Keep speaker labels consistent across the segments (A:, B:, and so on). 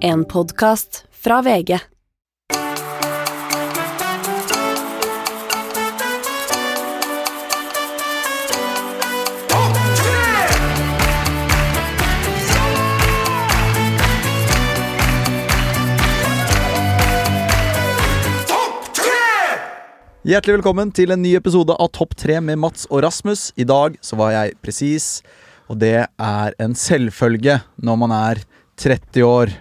A: En podkast fra VG.
B: Hjertelig velkommen til en ny episode av Topp 3 med Mats og Rasmus. I dag så var jeg presis, og det er en selvfølge når man er 30 år,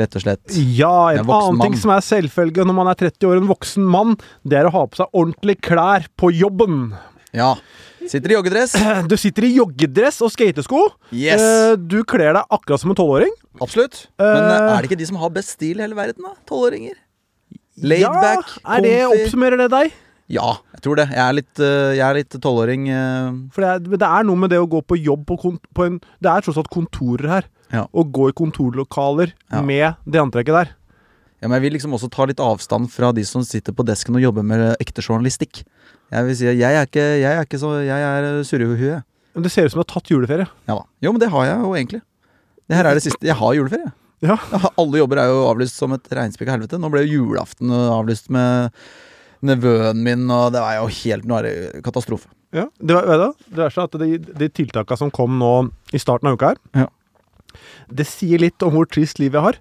B: rett og slett.
C: Ja, en,
B: En voksen
C: annen ting
B: mann.
C: som er selvfølge når man er 30 år, en voksen mann, det er å ha på seg ordentlige klær på jobben.
B: Ja. Sitter i joggedress.
C: Du sitter i joggedress og skatesko.
B: Yes.
C: Eh, Du kler deg akkurat som en tolvåring.
B: Absolutt. Men
C: Eh.
B: eh, er det ikke de som har best stil i hele verden, da? Tolvåringer. Laid
C: Ja,
B: back,
C: er det,
B: comfy.
C: oppsummerer det deg?
B: Ja, jeg tror det. Jeg er litt, eh, jeg er litt tolvåring. eh,
C: For det er, men det er noe med det å gå på jobb på, kon- på en Det er tross alt kontorer her.
B: Ja.
C: Å gå i kontorlokaler
B: Ja.
C: med det antrekket der.
B: Ja, men jeg vil liksom også ta litt avstand fra de som sitter på desken og jobber med ekte journalistikk. Jeg vil si at jeg er ikke, jeg er ikke så Jeg er surrehue.
C: Men Det ser ut som du har tatt juleferie.
B: Ja da. Jo, men det har jeg jo egentlig. Det her er det siste. Jeg har juleferie.
C: Ja.
B: Jeg har- Alle jobber er jo avlyst som et regnspikka helvete. Nå ble jo julaften øh, avlyst med nevøen min, og det er jo helt Nå er det katastrofe.
C: Ja, det, var- vet du, hva? det er sånn at de, de tiltakene som kom nå i starten av uka her,
B: Ja.
C: det sier litt om hvor trist livet jeg har,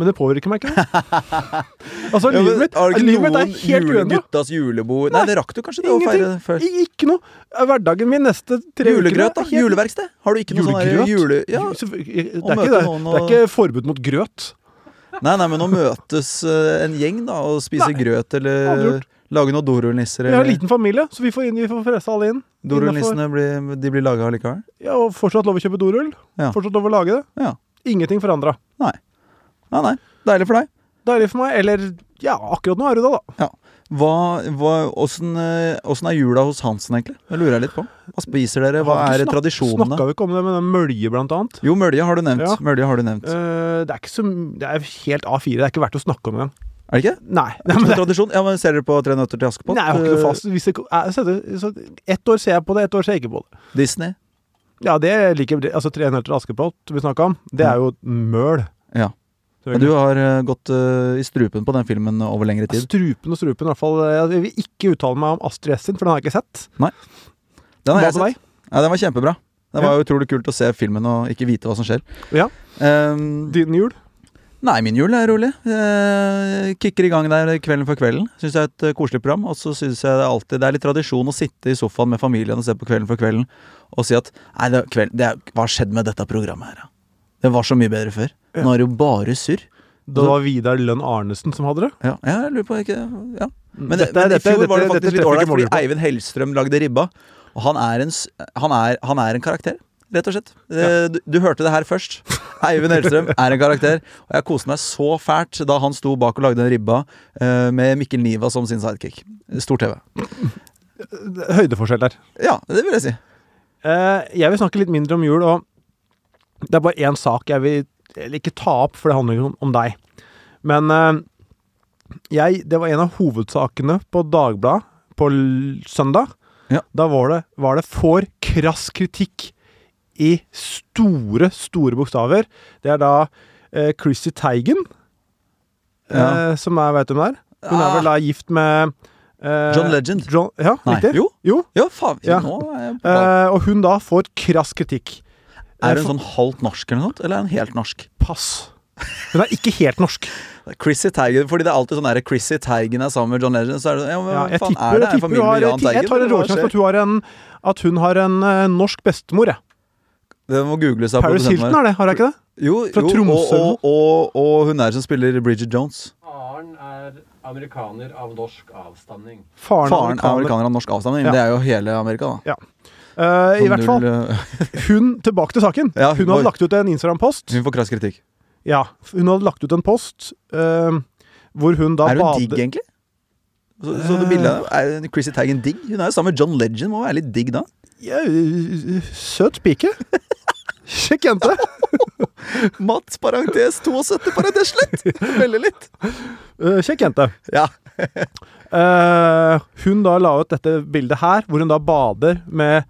C: men det påvirker meg ikke. altså,
B: Ja, men
C: livet mitt,
B: har du ikke
C: livet mitt er
B: noen
C: helt uendret.
B: Juleguttas julebord Nei,
C: Nei,
B: det rakk du kanskje det å feire
C: Ingenting.
B: før.
C: I- Ikke noe. Eh, Hverdagen min neste tre
B: Julegrøt, da?
C: ukene er helt-
B: Juleverksted? Har du ikke noe sånn der
C: Julegrøt?
B: jule... Ja.
C: Ju- selvfø- Det, er
B: Å
C: ikke
B: møte
C: det.
B: noen
C: det er
B: og-
C: ikke forbud mot grøt.
B: Nei, nei, men å møtes øh, en gjeng, da, og spise
C: Nei,
B: grøt,
C: aldri
B: eller
C: gjort.
B: lage noen dorullnisser,
C: Jeg har en
B: eller
C: liten familie, så vi får, inn, vi får frese alle inn.
B: Dorullnissene blir, de blir laga allikevel?
C: Ja, og fortsatt lov å kjøpe dorull.
B: Ja.
C: Fortsatt lov å lage det.
B: Ja.
C: Ingenting forandra.
B: Nei. Nei, nei. Deilig for deg.
C: Deilig for meg. Eller ja, akkurat nå er du det, da.
B: Ja. Hva, hva, åssen, eh, åssen er jula hos Hansen, egentlig? Det lurer jeg litt på. Hva spiser dere? Hva
C: Har vi
B: er
C: ikke
B: tradisjonene?
C: Snakka vi ikke om det med den mølje, blant annet?
B: Jo, mølje har du nevnt.
C: Ja.
B: Mølje har du nevnt.
C: Eh, det er ikke så m- Det er helt A4. Det er ikke verdt å snakke om engang.
B: Er det ikke det?
C: Nei.
B: Er
C: nei,
B: det
C: men
B: ikke
C: det,
B: en tradisjon? Ja, men Ser dere på Tre nøtter til Askepott?
C: nei jeg har ikke
B: Eh,
C: noe fast hvis det, ko- jeg, setter- så, Ett år ser jeg på det, ett år ser jeg ikke på det.
B: Eh, Disney?
C: Ja, det liker jeg. Altså, Tre nøtter til Askepott som vi snakka om, det er jo møl.
B: Ja. Men Du har eh, gått eh, i strupen på den filmen over lengre tid.
C: Strupen og strupen, i hvert fall. Jeg vil ikke uttale meg om Astrid S sin, for den har jeg ikke sett.
B: Den har jeg
C: Hva med
B: sett. Ja, den var kjempebra. Det var
C: Ja.
B: jo utrolig kult å se filmen og ikke vite hva som skjer.
C: Ja.
B: Ehm,
C: Din jul?
B: Nei, min jul er rolig. Eh, kicker i gang der kvelden for kvelden. Syns jeg er et eh, koselig program. Og så syns jeg det er alltid Det er litt tradisjon å sitte i sofaen med familien og se på Kvelden for kvelden og si at Nei, det, er kveld, det er, hva har skjedd med dette programmet her, da? Det var så mye bedre før. Nå er det jo bare surr.
C: Det var Vidar Lønn Arnesen som hadde det.
B: Ja, jeg lurer på ikke Ja. Men,
C: Dette-
B: men i
C: dette-
B: fjor var det
C: dette-
B: faktisk
C: dette
B: litt
C: treffer
B: ålreit, fordi
C: ikke målgruppa.
B: Eivind Hellstrøm lagde ribba. Og han er en, s- han er, han er en karakter, rett og slett. Eh, Du, du hørte det her først. Eivind Hellstrøm er en karakter. Og jeg koste meg så fælt da han sto bak og lagde den ribba eh, med Mikkel Niva som sin sidekick. Stor TV.
C: Høydeforskjell der.
B: Ja, det vil jeg si.
C: Eh, jeg vil snakke litt mindre om jul, og det er bare én sak jeg vil eller ikke ta opp, for det handler jo om- om deg. Men eh, jeg, det var en av hovedsakene på Dagbladet på l søndag.
B: Ja.
C: Da var det, var det for krass kritikk i store, store bokstaver. Det er da eh, Chrissy Teigen,
B: Ja. Ah.
C: eh, som er, vet du hvem det er? Hun er vel da gift med eh,
B: John Legend.
C: John, ja,
B: Nei.
C: riktig.
B: Jo.
C: jo.
B: Ja, faen.
C: Ja.
B: Nå er jeg på ballen.
C: Eh, og hun da får krass kritikk. Eh,
B: Er hun sånn halvt norsk eller noe sånt? Eller er hun helt norsk?
C: Pass. Hun er ikke helt norsk.
B: Chrissy Teigen, fordi det er alltid sånn der Chrissy Teigen er sammen med John Legend. Så er det sånn, ja, men
C: Ja,
B: hva
C: jeg
B: faen
C: tipper,
B: er det? Er
C: jeg,
B: det en
C: tipper hun
B: familie
C: har,
B: med Jahn
C: jeg, ti- jeg
B: Teigen,
C: tar en
B: eller hva
C: råsjanse
B: skjer?
C: på at hun har en, at hun har en eh, norsk bestemor. jeg.
B: Det må googles av
C: Paris
B: produsenten
C: Hilton
B: vår.
C: er det, har jeg ikke det?
B: Jo,
C: fra
B: jo
C: Tromsø.
B: og, og, og, og hun er som spiller Bridget Jones.
D: Faren er amerikaner av norsk avstamning.
C: Faren,
B: Faren er amerikaner av norsk avstamning. men
C: Ja.
B: Det er jo hele Amerika, da.
C: Eh, I
B: Så
C: hvert fall,
B: null, eh,
C: hun tilbake til saken.
B: Ja,
C: hun
B: var-
C: hadde lagt ut en Instagram-post.
B: Hun får krass kritikk.
C: Ja, hun hadde lagt ut en post eh, hvor hun da
B: er hun digg,
C: bader
B: egentlig? Så, så det bildet her, Er hun Chrissy Teigen digg? Hun er jo sammen med John Legend, må være litt digg da.
C: Ja, eh, Søt pike. Sjekk jente.
B: Mats, parentes 72, parentes slett! Veldig litt.
C: Eh, Sjekk jente.
B: Ja.
C: Eh, hun da la ut dette bildet her, hvor hun da bader med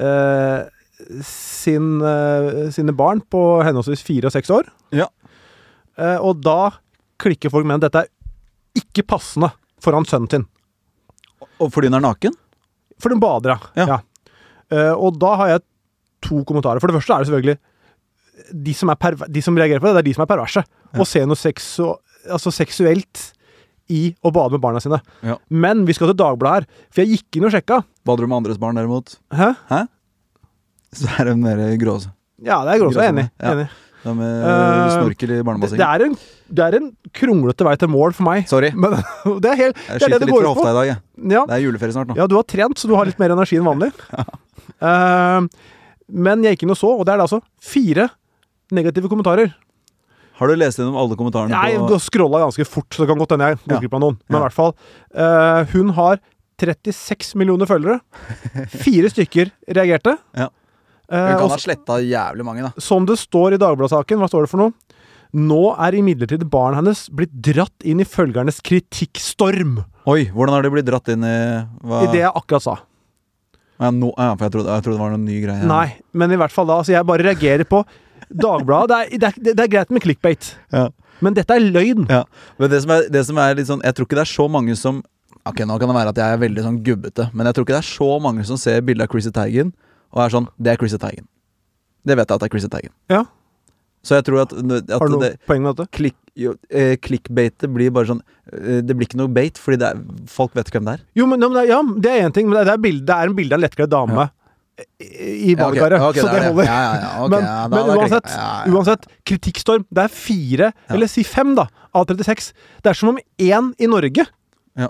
C: eh, sin, eh, sine barn på henholdsvis fire og seks år.
B: Ja.
C: Eh, og da klikker folk med at dette er ikke passende foran sønnen sin.
B: Og fordi hun er naken?
C: For den bader, ja.
B: Ja.
C: ja. Eh, og da har jeg to kommentarer. For det første er det selvfølgelig De som, er perver de som reagerer på det, det er de som er perverse. Å se noe seksu altså seksuelt i å bade med barna sine.
B: Ja.
C: Men vi skal til Dagbladet her, for jeg gikk inn og sjekka.
B: Bader du med andres barn, derimot?
C: Hæ?
B: Hæ? Så er det mer grås.
C: Ja, det er gråsomt. Jeg er Enig.
B: Ja.
C: enig.
B: Det med
C: Eh,
B: snorkel i
C: Det, det,
B: barnebassenget.
C: er en, det er en kronglete vei til mål for meg.
B: Sorry.
C: Men det er, helt,
B: Jeg
C: det, er
B: skyter
C: det det
B: litt for
C: går ut på.
B: hofta i dag, jeg.
C: Ja.
B: Det er juleferie snart nå.
C: Ja, du har trent, så du har litt mer energi enn vanlig. Eh, men jeg gikk inn og så, og det er da altså fire negative kommentarer.
B: Har du lest gjennom alle kommentarene
C: Nei,
B: på
C: du scrolla ganske fort, så det kan godt hende jeg går
B: Ja.
C: glipp av noen. Men i
B: Ja.
C: hvert fall. eh, hun har 36 millioner følgere. Fire stykker reagerte.
B: Ja.
C: Eh,
B: Hun
C: og
B: kan ha sletta jævlig mange, da.
C: som det står i Dagbladet-saken, hva står det for noe? Nå er imidlertid barnet hennes blitt dratt inn i følgernes kritikkstorm.
B: Oi, hvordan har de blitt dratt inn i hva?
C: I det jeg akkurat sa.
B: Ja, nå- ja, for jeg trodde, jeg trodde det var noen ny greie.
C: Nei, men i hvert fall da. Altså, jeg bare reagerer på Dagbladet. Det er, det, er, det er greit med clickbait,
B: Ja.
C: men dette er løgn.
B: Ja. Men det som, er, det som er litt sånn Jeg tror ikke det er så mange som Ok, nå kan det være at jeg er veldig sånn gubbete, men jeg tror ikke det er så mange som ser bildet av Chrissy Teigen og er sånn Det er Chrissy Teigen. Det vet jeg at det er Chrissy Teigen.
C: Ja.
B: Så jeg tror at, at
C: Har du noe
B: Altså, det,
C: poeng med dette?
B: klikk, jo, eh, Klikkbaitet blir bare sånn eh, Det blir ikke noe bait, fordi det er, folk vet hvem det er.
C: Jo, men, ja, men det er- ja, det er én ting, men det er, det er bilde, det er en bilde av en lettkledd dame i i
B: Ja, ok,
C: badekaret,
B: ok,
C: så
B: er
C: det holder.
B: Ja, ja, ja, ok,
C: men
B: ja, da- da
C: men
B: klikker-
C: uansett,
B: ja, ja.
C: uansett, kritikkstorm. Det er fire,
B: Ja.
C: eller si fem, da, av 36. Det er som om én i Norge
B: Ja.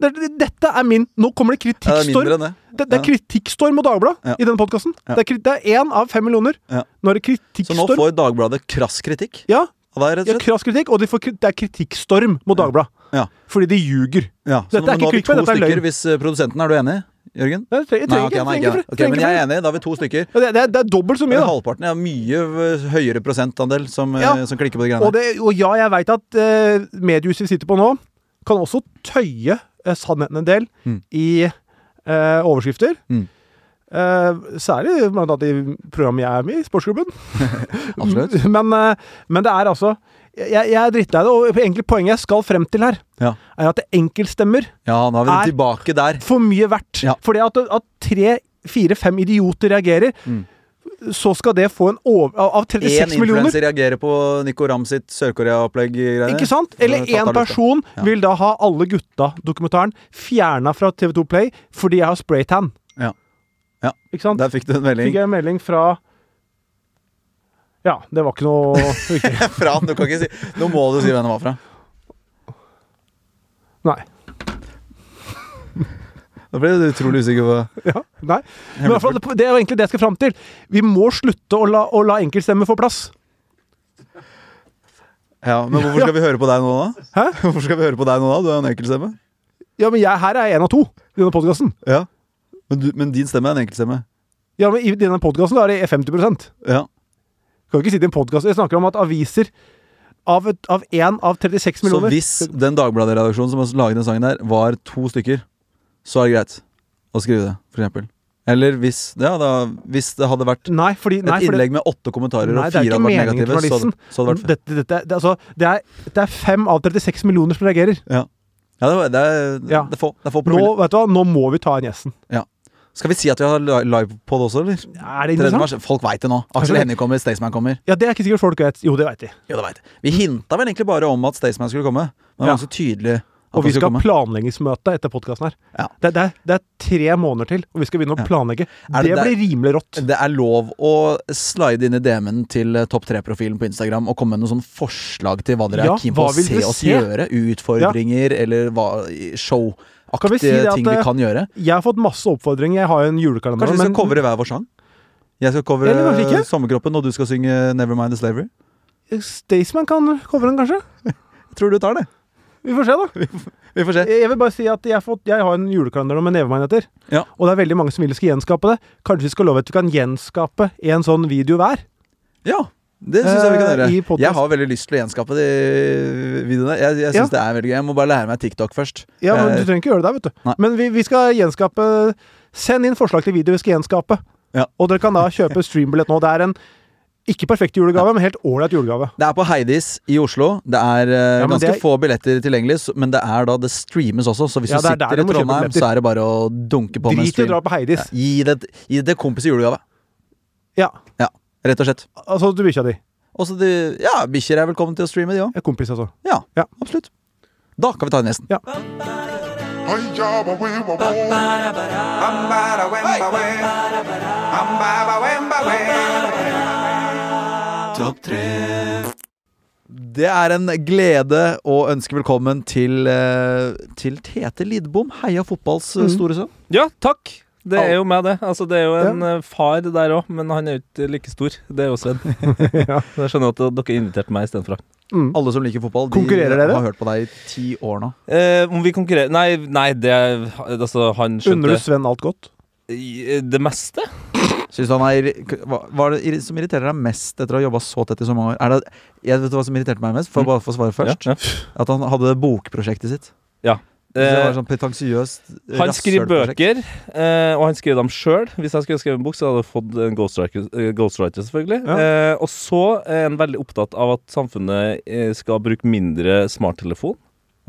C: det, det- Dette er min Nå kommer det
B: Ja, det er
C: kritikkstorm.
B: mindre enn det.
C: Det, det
B: Ja.
C: er kritikkstorm og Dagbladet
B: Ja.
C: i denne podkasten.
B: Ja.
C: Det er kri- det er én av fem millioner.
B: Ja.
C: Nå er det
B: Så nå
C: kritikkstorm.
B: får Dagbladet krass kritikk
C: Ja,
B: av deg, rett
C: ja,
B: og slett.
C: krass kritikk, og de får, kri- det er kritikkstorm mot Dagbladet.
B: Ja.
C: Fordi de ljuger.
B: Ja, så
C: Dette
B: nå, nå
C: er ikke
B: har vi to
C: clickbait, dette er løgn.
B: stykker hvis eh, produsenten Er du enig, Jørgen?
C: Nei, Jeg trenger, jeg
B: Nei,
C: trenger
B: ok,
C: ikke
B: nei,
C: trenger
B: ikke.
C: ikke-
B: Ok,
C: trenger
B: men
C: ikke
B: jeg
C: flere.
B: er enig. Da har vi to stykker.
C: Ja, det, det, er, det er dobbelt så mye,
B: Eller
C: da.
B: halvparten. Ja, mye eh, høyere prosentandel som, eh,
C: Ja.
B: som klikker på de greiene.
C: Og, det, og ja, jeg veit at eh, mediehuset vi sitter på nå, kan også tøye eh, sannheten en del
B: Mm.
C: i eh, overskrifter.
B: Mm.
C: Eh, særlig blant annet i programmet jeg er med i, Sportsklubben.
B: Absolutt.
C: Men, eh, men det er altså Jeg, jeg er drittlei det, og egentlig poenget jeg skal frem til her,
B: Ja.
C: er at det enkeltstemmer
B: ja, da er vi
C: Er-
B: tilbake der.
C: for mye verdt.
B: Ja.
C: Fordi at, at tre, fire, fem idioter reagerer,
B: Mm.
C: så skal det få en over... Av av
B: Én
C: 36 millioner
B: influenser reagerer på Nico Ram sitt Sør-Korea-opplegg.
C: Ikke sant? Eller
B: Så tatt av
C: én
B: lista.
C: person
B: Ja.
C: vil da ha alle gutta-dokumentaren fjerna fra TV2 Play fordi jeg har spraytan.
B: Ja. Ja.
C: Ikke sant?
B: Der fikk du en melding
C: Fikk jeg en melding fra Ja, det var ikke noe viktig.
B: fra han. Du kan ikke si Nå må du si hvem det var fra.
C: Nei.
B: Da ble du utrolig usikker på
C: Ja, nei. Men i hvert fall, det er jo egentlig det jeg skal fram til. Vi må slutte å la, å la enkeltstemmer få plass.
B: Ja, Men hvorfor skal vi høre på deg nå, da?
C: Hæ?
B: Hvorfor skal vi høre på deg nå da? Du er jo en enkeltstemme.
C: Ja, men jeg, her er jeg en av to i denne podkasten.
B: Ja. Men, du, men din stemme er en enkeltstemme.
C: Ja, men i denne podkasten er det 50 Kan
B: Ja.
C: ikke sitte i en podkast Jeg snakker om at aviser av én av, en av 36
B: Så
C: millioner
B: hvis den Dagbladet-redaksjonen som har laget den sangen der, var to stykker, så er det greit å skrive det, for eksempel. Eller hvis, ja, da, hvis det hadde vært
C: Nei, fordi,
B: et
C: nei, fordi
B: innlegg med åtte kommentarer,
C: Nei,
B: og
C: det er
B: fire
C: ikke
B: hadde vært
C: meningen,
B: negative, så hadde, så hadde det vært fem.
C: dette, dette, det, altså, det, er, det er fem av 36 millioner som reagerer.
B: Ja, det, var- det, er,
C: Ja.
B: det er få, det er få
C: Nå,
B: promille.
C: vet du hva, nå må vi ta inn gjesten.
B: Skal vi si at vi har li- livepod også, eller?
C: Er
B: 3.
C: det interessant?
B: mars. Folk veit det nå. Aksel
C: det?
B: Hennie kommer, Staysman kommer.
C: Ja, det er ikke sikkert folk vet. Jo, det veit de.
B: Jo, det vet jeg. Vi hinta vel egentlig bare om at Staysman skulle komme, men det
C: Ja.
B: var ganske tydelig at
C: Og
B: han
C: vi skal
B: skulle
C: ha
B: komme.
C: planleggingsmøte etter podkasten her.
B: Ja.
C: Det, det, er, det er tre måneder til, og vi skal begynne å
B: Ja.
C: planlegge.
B: Er
C: det,
B: det der-
C: blir rimelig rått.
B: Det er lov å slide inn i DM-en til eh, topp tre-profilen på Instagram og komme med noen sånne forslag til hva dere
C: Ja,
B: er keen på
C: hva
B: å
C: vil
B: se
C: dere
B: oss
C: se?
B: gjøre. Utfordringer eller hva, showaktige
C: Kan vi si det at,
B: ting vi
C: eh,
B: kan gjøre.
C: Jeg har fått masse oppfordringer. Jeg har jo en julekalender.
B: Kanskje vi skal
C: men-
B: covre hver vår sang? Jeg skal covre
C: Eller kanskje ikke?
B: Sommerkroppen, og du skal synge Nevermind the Slavery.
C: Staysman kan covre den, kanskje?
B: Jeg tror du tar det.
C: Vi får se, da.
B: Vi får se.
C: Jeg jeg vil bare si at jeg har, fått, jeg har en julekalender nå med nevemagneter.
B: Ja.
C: Og det er veldig mange som vil skal gjenskape det. Kanskje vi skal love at vi kan gjenskape en sånn video hver?
B: Ja, det syns jeg vi kan
C: Eh,
B: gjøre.
C: i podcast.
B: Jeg har veldig lyst til å gjenskape de videoene. Jeg, jeg
C: Ja.
B: syns det er veldig gøy. Jeg må bare lære meg TikTok først.
C: Ja, men
B: Eh,
C: Du trenger ikke gjøre det der, vet du.
B: Nei.
C: Men vi, vi skal gjenskape Send inn forslag til video vi skal gjenskape.
B: Ja.
C: Og dere kan da kjøpe streambillett nå. Det er en Ikke perfekt julegave, men helt ålreit julegave.
B: Det er på Heidis i Oslo. Det er eh,
C: Ja, men
B: ganske
C: det er-
B: få billetter tilgjengelig, så- men det er da det streames også. Så hvis
C: Ja,
B: du
C: det er
B: sitter
C: der
B: i
C: du må kjøpe
B: Trondheim,
C: billetter.
B: så er det bare å dunke på med en
C: Drit i å
B: stream.
C: dra på Heidis.
B: Ja, Gi det, gi det kompis i julegave.
C: Ja.
B: Ja, rett og slett.
C: Altså til bikkja di.
B: Også de, ja, bikkjer er velkommen til å streame, de òg.
C: En kompis, altså.
B: Ja,
C: Ja.
B: absolutt. Da kan vi ta inn gjesten.
E: Ay, ya, ba, we, ba, wo.
B: Det er en glede å ønske velkommen til, eh, til Tete Lidbom, heia fotballs
F: Mhm.
B: eh, store sønn.
F: Ja, takk. Det
B: Al-
F: er jo meg, det. Altså, det er jo en eh, far der òg, men han er jo ikke like stor. Det er jo Sven.
C: Ja.
F: Så Jeg skjønner at dere inviterte meg istedenfor.
B: Alle som liker fotball, de eh,
C: Konkurrerer dere?
B: har hørt på deg i ti år nå.
F: Eh, om vi konkurrerer Nei, nei det er- Altså, han
C: Unner du
F: skjønte
C: Sven alt godt?
F: I- eh, det meste.
B: Synes du han er, irri- hva, hva er det irri- som irriterer deg mest etter å ha jobba så tett i så mange år? Er det, jeg vet du hva som irriterte meg mest? Får jeg bare få svare først?
F: Mhm. Ja,
B: At han hadde bokprosjektet sitt.
F: ja.
B: det
F: Eh,
B: var sånn pretensiøst
F: han skriver
B: rasshølprosjekt.
F: bøker, eh, og han skriver dem sjøl. Hvis jeg skulle skrevet en bok, så hadde jeg fått en ghostwriter, eh, ghostwriter selvfølgelig.
C: Ja.
F: Eh, og så er han veldig opptatt av at samfunnet eh, skal bruke mindre smarttelefon.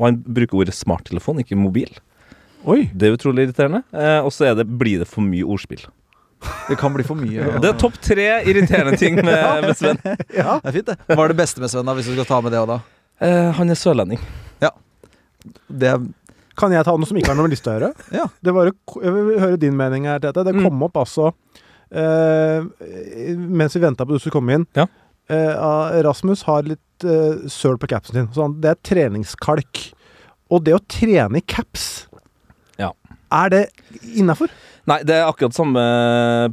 F: Og han bruker ordet smarttelefon, ikke mobil.
C: Oi!
F: Det er utrolig irriterende. Eh, og så er det, blir det for mye ordspill.
B: Det kan bli for mye. ja.
F: Det er topp tre irriterende ting med, med Sven.
C: Ja.
B: Det er fint, det. Hva er det beste med Sven, da, hvis du skal ta med det òg, da?
F: Eh, han er sørlending.
B: Det er
C: Kan jeg ta noe som ikke har noe med lista å gjøre?
B: Ja.
C: Det var, jo- jeg vil høre din mening her, Tete. Det
F: Mm.
C: kom opp altså eh, Mens vi venta på at du skulle komme inn
F: Ja.
C: eh, av- Rasmus har litt eh, søl på capsen sin. Så han, det er treningskalk. Og det å trene i caps
F: Ja.
C: Er det innafor?
F: Nei, det er akkurat samme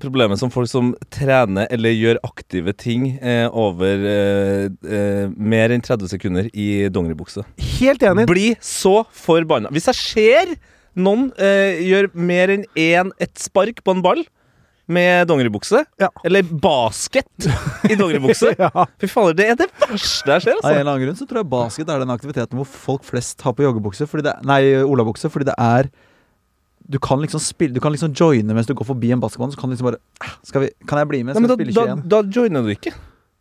F: problemet som folk som trener eller gjør aktive ting eh, over eh, eh, mer enn 30 sekunder i dongeribukse.
C: Helt enig.
F: Bli så forbanna. Hvis jeg ser noen eh, gjør mer enn én ett spark på en ball med dongeribukse,
C: Ja.
F: eller basket i dongeribukse
C: Ja.
F: Fy fader, det er det verste jeg
B: Av en
F: ser, altså.
B: eller annen grunn så tror jeg basket er den aktiviteten hvor folk flest har på joggebukse, fordi det, nei, olabukse, fordi det er du kan liksom spille, du kan liksom joine mens du går forbi en basketball. Så kan du liksom bare "Ah, skal vi, Kan jeg bli med?
F: Nei,
B: Skal
F: men
B: vi
F: da,
B: spille
F: da,
B: 21?
F: da joiner du ikke.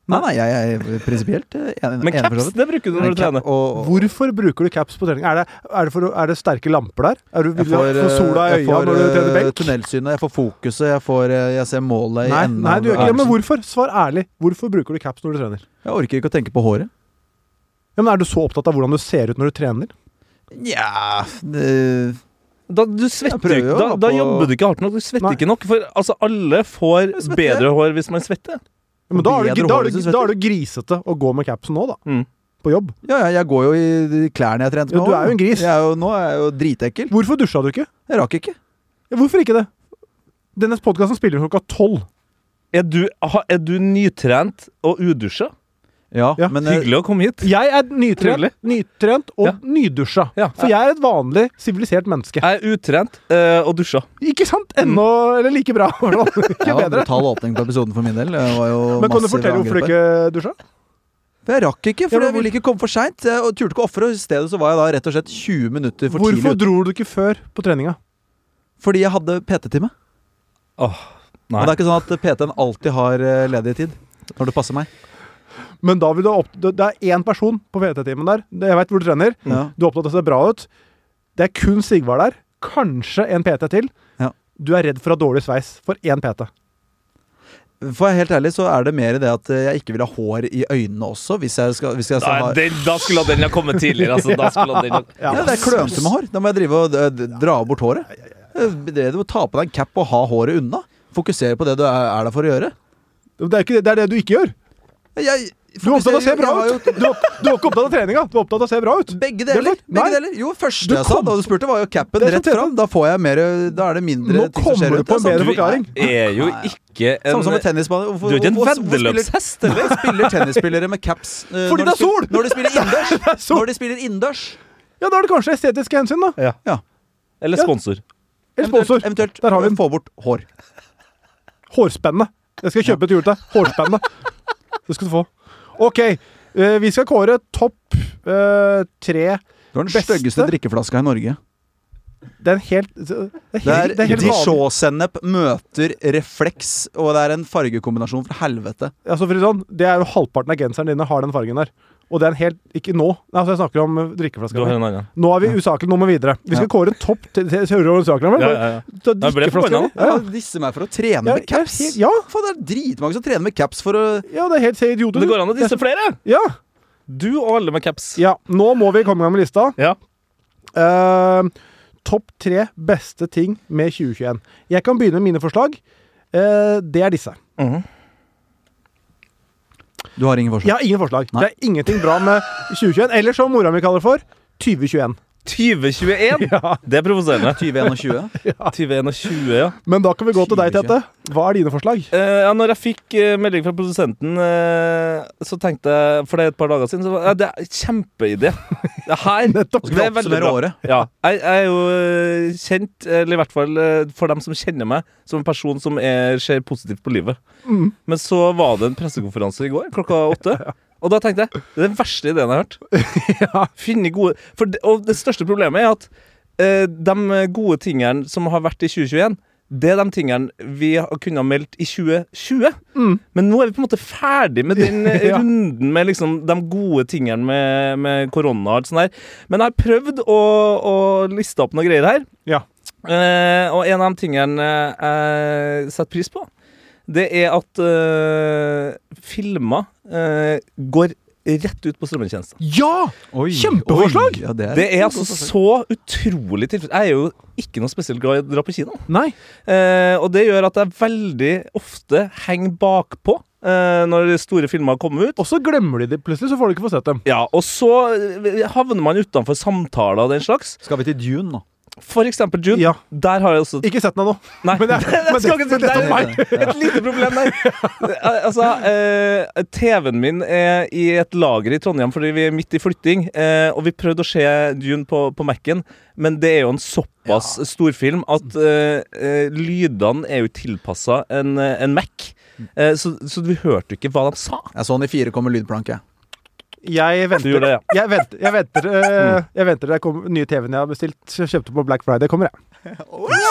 B: Nei, nei, jeg jeg er prinsipielt eh, enig. enig
F: Men
B: for
F: caps,
B: så vidt.
F: det bruker du
B: Men
F: når du
B: cap
F: trener.
B: og- og-
C: Hvorfor bruker du caps på trening? Er det, er det, for, å- er det sterke lamper der? Er du,
B: Jeg
C: vil du
B: får,
C: få sola i
B: eh, jeg
C: øya
B: får
C: når du trener
B: eh,
C: benk?
B: tunnelsynet, jeg får fokuset, jeg, får, eh, jeg ser målet i
C: Nei,
B: enden
C: nei,
B: av
C: du gjør ikke det. Men
B: øvelsen.
C: hvorfor? Svar ærlig. Hvorfor bruker du caps når du trener?
B: Jeg orker ikke å tenke på håret.
C: Ja, men Er du så opptatt av hvordan du ser ut når du trener?
B: Nja det-
F: Da, du svetter,
B: Jeg prøver
F: ikke-
B: jo
F: da,
B: da
F: da
B: på-
F: jobber du ikke hardt nok. Du svetter
C: Nei.
F: ikke nok. For altså, alle får
B: svetter.
F: bedre hår hvis man svetter.
C: Ja, men da er, du,
B: Bedre
C: da,
B: hår
C: er
B: hvis
C: du,
B: du svetter.
C: da er du grisete å gå med capsen nå, da.
F: Mm.
C: På jobb.
B: Ja, ja, jeg går jo i de klærne jeg trente
C: Ja,
B: med.
C: du
B: også.
C: er jo en gris.
B: Jeg er jo, nå er jeg jo dritekkel.
C: Hvorfor dusja du ikke?
B: Jeg rakk ikke.
C: Ja, hvorfor ikke det? Denne podkasten spiller klokka tolv.
F: Er du, ha- er du nytrent og udusja?
B: Ja,
C: Ja.
B: men eh,
F: Hyggelig å komme hit.
C: Jeg er nytrent,
F: Trivelig.
C: nytrent og
F: Ja.
C: nydusja.
F: Ja.
C: For jeg er et vanlig, sivilisert menneske.
F: Jeg er utrent eh, og dusja.
C: Ikke sant? Ennå Eller like bra. i hvert fall.
B: Mm. Det
C: ikke
B: var en
C: bedre.
B: brutal åpning på episoden for min del. Det var jo
C: Men kan du
B: massive
C: fortelle hvorfor du
B: angrep her.
C: ikke dusja?
B: For Jeg rakk ikke,
C: Ja,
B: for
C: men
B: jeg ville ikke komme for seint. Og turte ikke å ofre. og I stedet så var jeg da rett og slett 20 minutter for tidlig
C: Hvorfor
B: ute.
C: dro du ikke før på treninga?
B: Fordi jeg hadde PT-time.
F: Åh,
B: Og
F: nei.
B: det er ikke sånn at PT-en alltid har eh, ledig tid. Når det passer meg.
C: Men da vil du ha opp... Det det er én person på VT-timen der. Det- Jeg veit hvor du trener.
B: Ja.
C: Du er opptatt av å se bra ut. Det er kun Sigvard der. Kanskje en PT til.
B: Ja.
C: Du er redd for å ha dårlig sveis for én PT.
B: For jeg er helt ærlig så er det mer i det at eh, jeg ikke vil ha hår i øynene også. Hvis jeg skal, hvis jeg skal
F: Nei,
B: ha
F: den, da skulle den ha kommet tidligere. Altså, da skulle den
C: Ja.
B: ja, Det er klønete med hår. Da må jeg drive og eh, d- dra bort håret. Det er jo å Ta på deg en cap og ha håret unna. Fokusere på det du er, er der for å gjøre.
C: Det er, ikke, det er det du ikke gjør.
B: Jeg,
C: Du er opptatt av å se
B: fokuserer-
C: bra
B: jeg har jo
C: ut! Du, er- du er ikke opptatt av treninga. Du er opptatt av å se bra ut.
B: Begge
C: Det er
B: deler.
C: sant.
B: begge
C: Nei.
B: deler Jo, første
C: Du
B: jeg sa
C: kom-
B: da du spurte, var jo capen
C: Det er
B: rett
C: sant, Tete.
B: fram. Da, får jeg mer, da er det mindre
C: Nå
B: ting som skjer rundt.
C: kommer du på en
B: Det er
C: bedre
B: sant.
C: forklaring.
F: Du er jo ikke en
B: Samme som med tennisbanen.
F: Du er ikke en veddeløpshest,
B: eller? Spiller tennisspillere med caps eh, når
C: Fordi det er
B: de spiller-
C: sol!
B: Når de spiller innendørs!
C: sol!
B: Når de spiller innendørs.
C: Ja, da er det kanskje estetiske hensyn, da.
F: Eller
C: Ja.
F: sponsor.
C: Eller sponsor.
B: Eventuelt, eventuelt
C: Der har vi den.
B: få bort hår.
C: Hårspenne. Det skal jeg kjøpe til jul til. deg. Hårspenne. Det skal du få. OK. eh, Vi skal kåre topp eh, tre
B: Du har den
C: Beste?
B: styggeste drikkeflaska i Norge.
C: Det er en helt Det er
B: Det
C: helt,
B: er,
C: det er helt vanlig.
B: Dijon-sennep møter refleks, og det er en fargekombinasjon fra helvete.
C: Altså, for å si det sånn, det er jo halvparten av genseren dine har den fargen der. Og det er en helt Ikke nå. Nei, Altså, jeg snakker om eh,
F: Du har
C: drikkeflaska.
F: en annen.
C: Nå er vi usaklige, nå må vi videre. Vi skal
B: Ja.
C: kåre en topp til til- til Hører du saken,
F: Ja,
C: vel?
F: ja, ja.
C: Ta
F: jeg ble
C: drikkeflaska
F: forbanna.
C: di. Ja, ja.
B: Han disser meg for å trene
C: Ja,
B: med caps.
C: helt- ja.
B: Faen, det er dritmange som trener med caps for å
C: ja, det er helt se idioter.
F: Det går an å disse flere!
C: Ja.
F: Du og alle med caps.
C: ja. Nå må vi komme i gang med lista.
F: Ja.
C: Eh, Topp tre beste ting med 2021. Jeg kan begynne med mine forslag. Eh, det er disse.
F: Mhm.
B: Du har ingen
C: Jeg
B: forslag.
C: har ingen forslag.
B: Nei.
C: Det er ingenting bra med 2021. Eller som mora mi kaller det for 2021.
F: 2021!
C: Ja.
F: Det er provoserende.
B: 2021.
F: 2021, ja.
C: Men da kan vi gå til deg,
B: 2021.
C: Tete. Hva er dine forslag?
F: Eh, ja, når jeg fikk eh, melding fra produsenten, eh, så tenkte jeg For det er et par dager siden, så var ja, det er kjempeidé. Det her
C: Nettopp.
B: Skal vi oppsummere året?
F: Ja. Jeg, jeg er jo eh, kjent, eller i hvert fall eh, for dem som kjenner meg, som en person som er, ser positivt på livet.
B: Mm.
F: Men så var det en pressekonferanse i går klokka åtte. Og da tenkte jeg det er den verste ideen jeg har hørt. Finne gode for det, Og det største problemet er at eh, de gode tingene som har vært i 2021, det er de tingene vi har kunne ha meldt i 2020. Men nå er vi på en måte ferdig med den eh,
C: Ja.
F: runden med liksom de gode tingene med, med korona og alt sånt der. Men jeg har prøvd å, å liste opp noen greier her.
C: Ja.
F: Eh, og en av de tingene eh, jeg setter pris på, det er at eh, filmer eh, går rett ut på strømmetjenester.
C: Ja!
B: Oi,
C: Kjempeforslag!
B: oi, Ja, det er,
F: Det er altså så utrolig tilfredsstillende. Jeg er jo ikke noe spesielt glad i å dra på kino.
C: Nei.
F: Eh, og det gjør at jeg veldig ofte henger bakpå eh, når store filmer kommer ut.
C: Og så glemmer de det plutselig, så får du ikke få sett dem.
F: Ja, Og så eh, havner man utenfor samtaler og den slags.
B: Skal vi til Dune nå?
F: For eksempel June.
C: Ja.
F: Der har jeg også
C: Ikke sett den ennå.
F: Nei,
C: Men det er-
F: jeg skal ikke si det.
B: dette er meg.
F: Det er et lite problem der. Altså, eh, TV-en min er i et lager i Trondheim fordi vi er midt i flytting, eh, og vi prøvde å se Dune på, på Mac-en, men det er jo en såpass storfilm at eh, eh, lydene er jo tilpassa en, en Mac. Eh, så, så vi hørte jo ikke hva de sa.
B: Jeg så han sånn i fire kom med lydplanke.
C: Jeg
F: Du
C: venter.
F: gjorde det, ja.
C: Jeg venter, jeg venter, eh, jeg venter til det kommer nye TV-en jeg har bestilt. Kjøpte på Black Friday. Kommer jeg.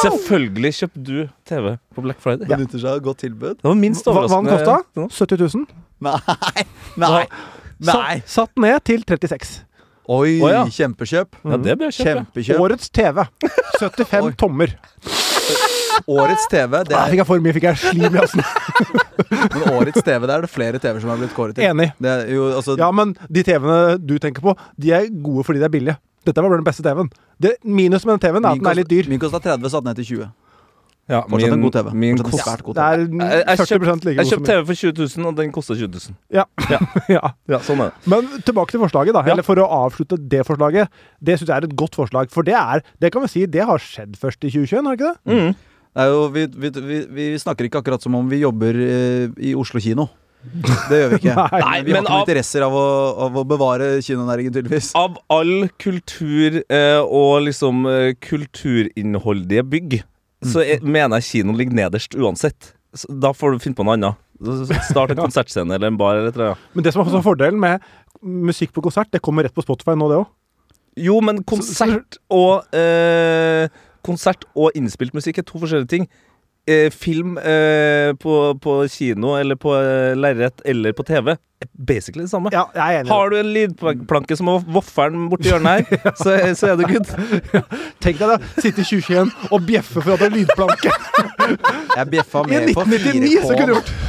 F: Selvfølgelig kjøpte du TV på Black Friday.
B: Benytter seg av godt tilbud.
F: Det var minst
C: Hva, hva den
F: overraskende.
C: kosta? 70 000.
B: Nei! Nei! Nei.
C: Satt, satt ned til 36.
B: Oi,
F: Å, ja.
B: kjempekjøp.
F: Ja, det bør jeg kjøpe.
B: Kjempekjøp.
C: Årets TV. 75
B: Oi.
C: tommer.
B: Årets TV, det
C: Der
B: er,
C: fikk jeg for mye, fikk jeg slim i halsen.
B: men årets TV, det er det flere TV som har blitt kåret til.
C: Enig.
B: Det er jo, altså,
C: Ja, men de TV-ene du tenker på, de er gode fordi de er billige. Dette var bare den beste TV-en. Det, minus med den TV-en er at den er litt dyr.
B: Min kosta 30, satt ned til 20.
F: Ja,
B: Fortsatt en
F: min-
B: god TV.
F: Min
B: Fortsatt en
F: kost-
B: svært god
C: Det
B: TV.
C: er
F: Jeg, jeg
C: 40
F: kjøpte
C: like god
F: kjøpt
C: som
F: TV for 20 000, og den kosta 20 000.
C: min. Ja.
F: Ja, sånn er det.
C: Men tilbake til forslaget, da.
F: Ja.
C: Eller for å avslutte det forslaget. Det syns jeg er et godt forslag. For det er, det kan vi si, det har skjedd først i 2021, har det ikke det?
B: Det er jo, vi, vi, vi, vi snakker ikke akkurat som om vi jobber eh, i Oslo kino. Det gjør vi ikke. Men vi
C: Nei.
F: men
B: har ikke noen
F: av-
B: interesser av å, av å bevare kinonæringen, tydeligvis.
F: Av all kultur eh, og liksom eh, kulturinnholdige bygg, så er, mener jeg kinoen ligger nederst uansett. Så da får du finne på noe annet. Så- så Start en konsertscene eller en bar. Eller et eller annet.
C: Men det som er også fordelen med musikk på konsert, det kommer rett på Spotify nå, det òg.
F: Jo, men konsert og eh, Konsert og innspilt musikk er to forskjellige ting. Eh, film eh, på, på kino eller på eh, lerret eller på TV er basically det samme.
C: Ja, jeg er enig. i det.
F: Har du en lydplanke som er vofferen borti hjørnet her, så, så er du good.
C: Tenk deg det. Sitte i 2021 og bjeffe for at det er lydplanke.
B: Jeg bjeffa
C: I
B: med på
C: 1999 så kunne
B: 4K.
C: du gjort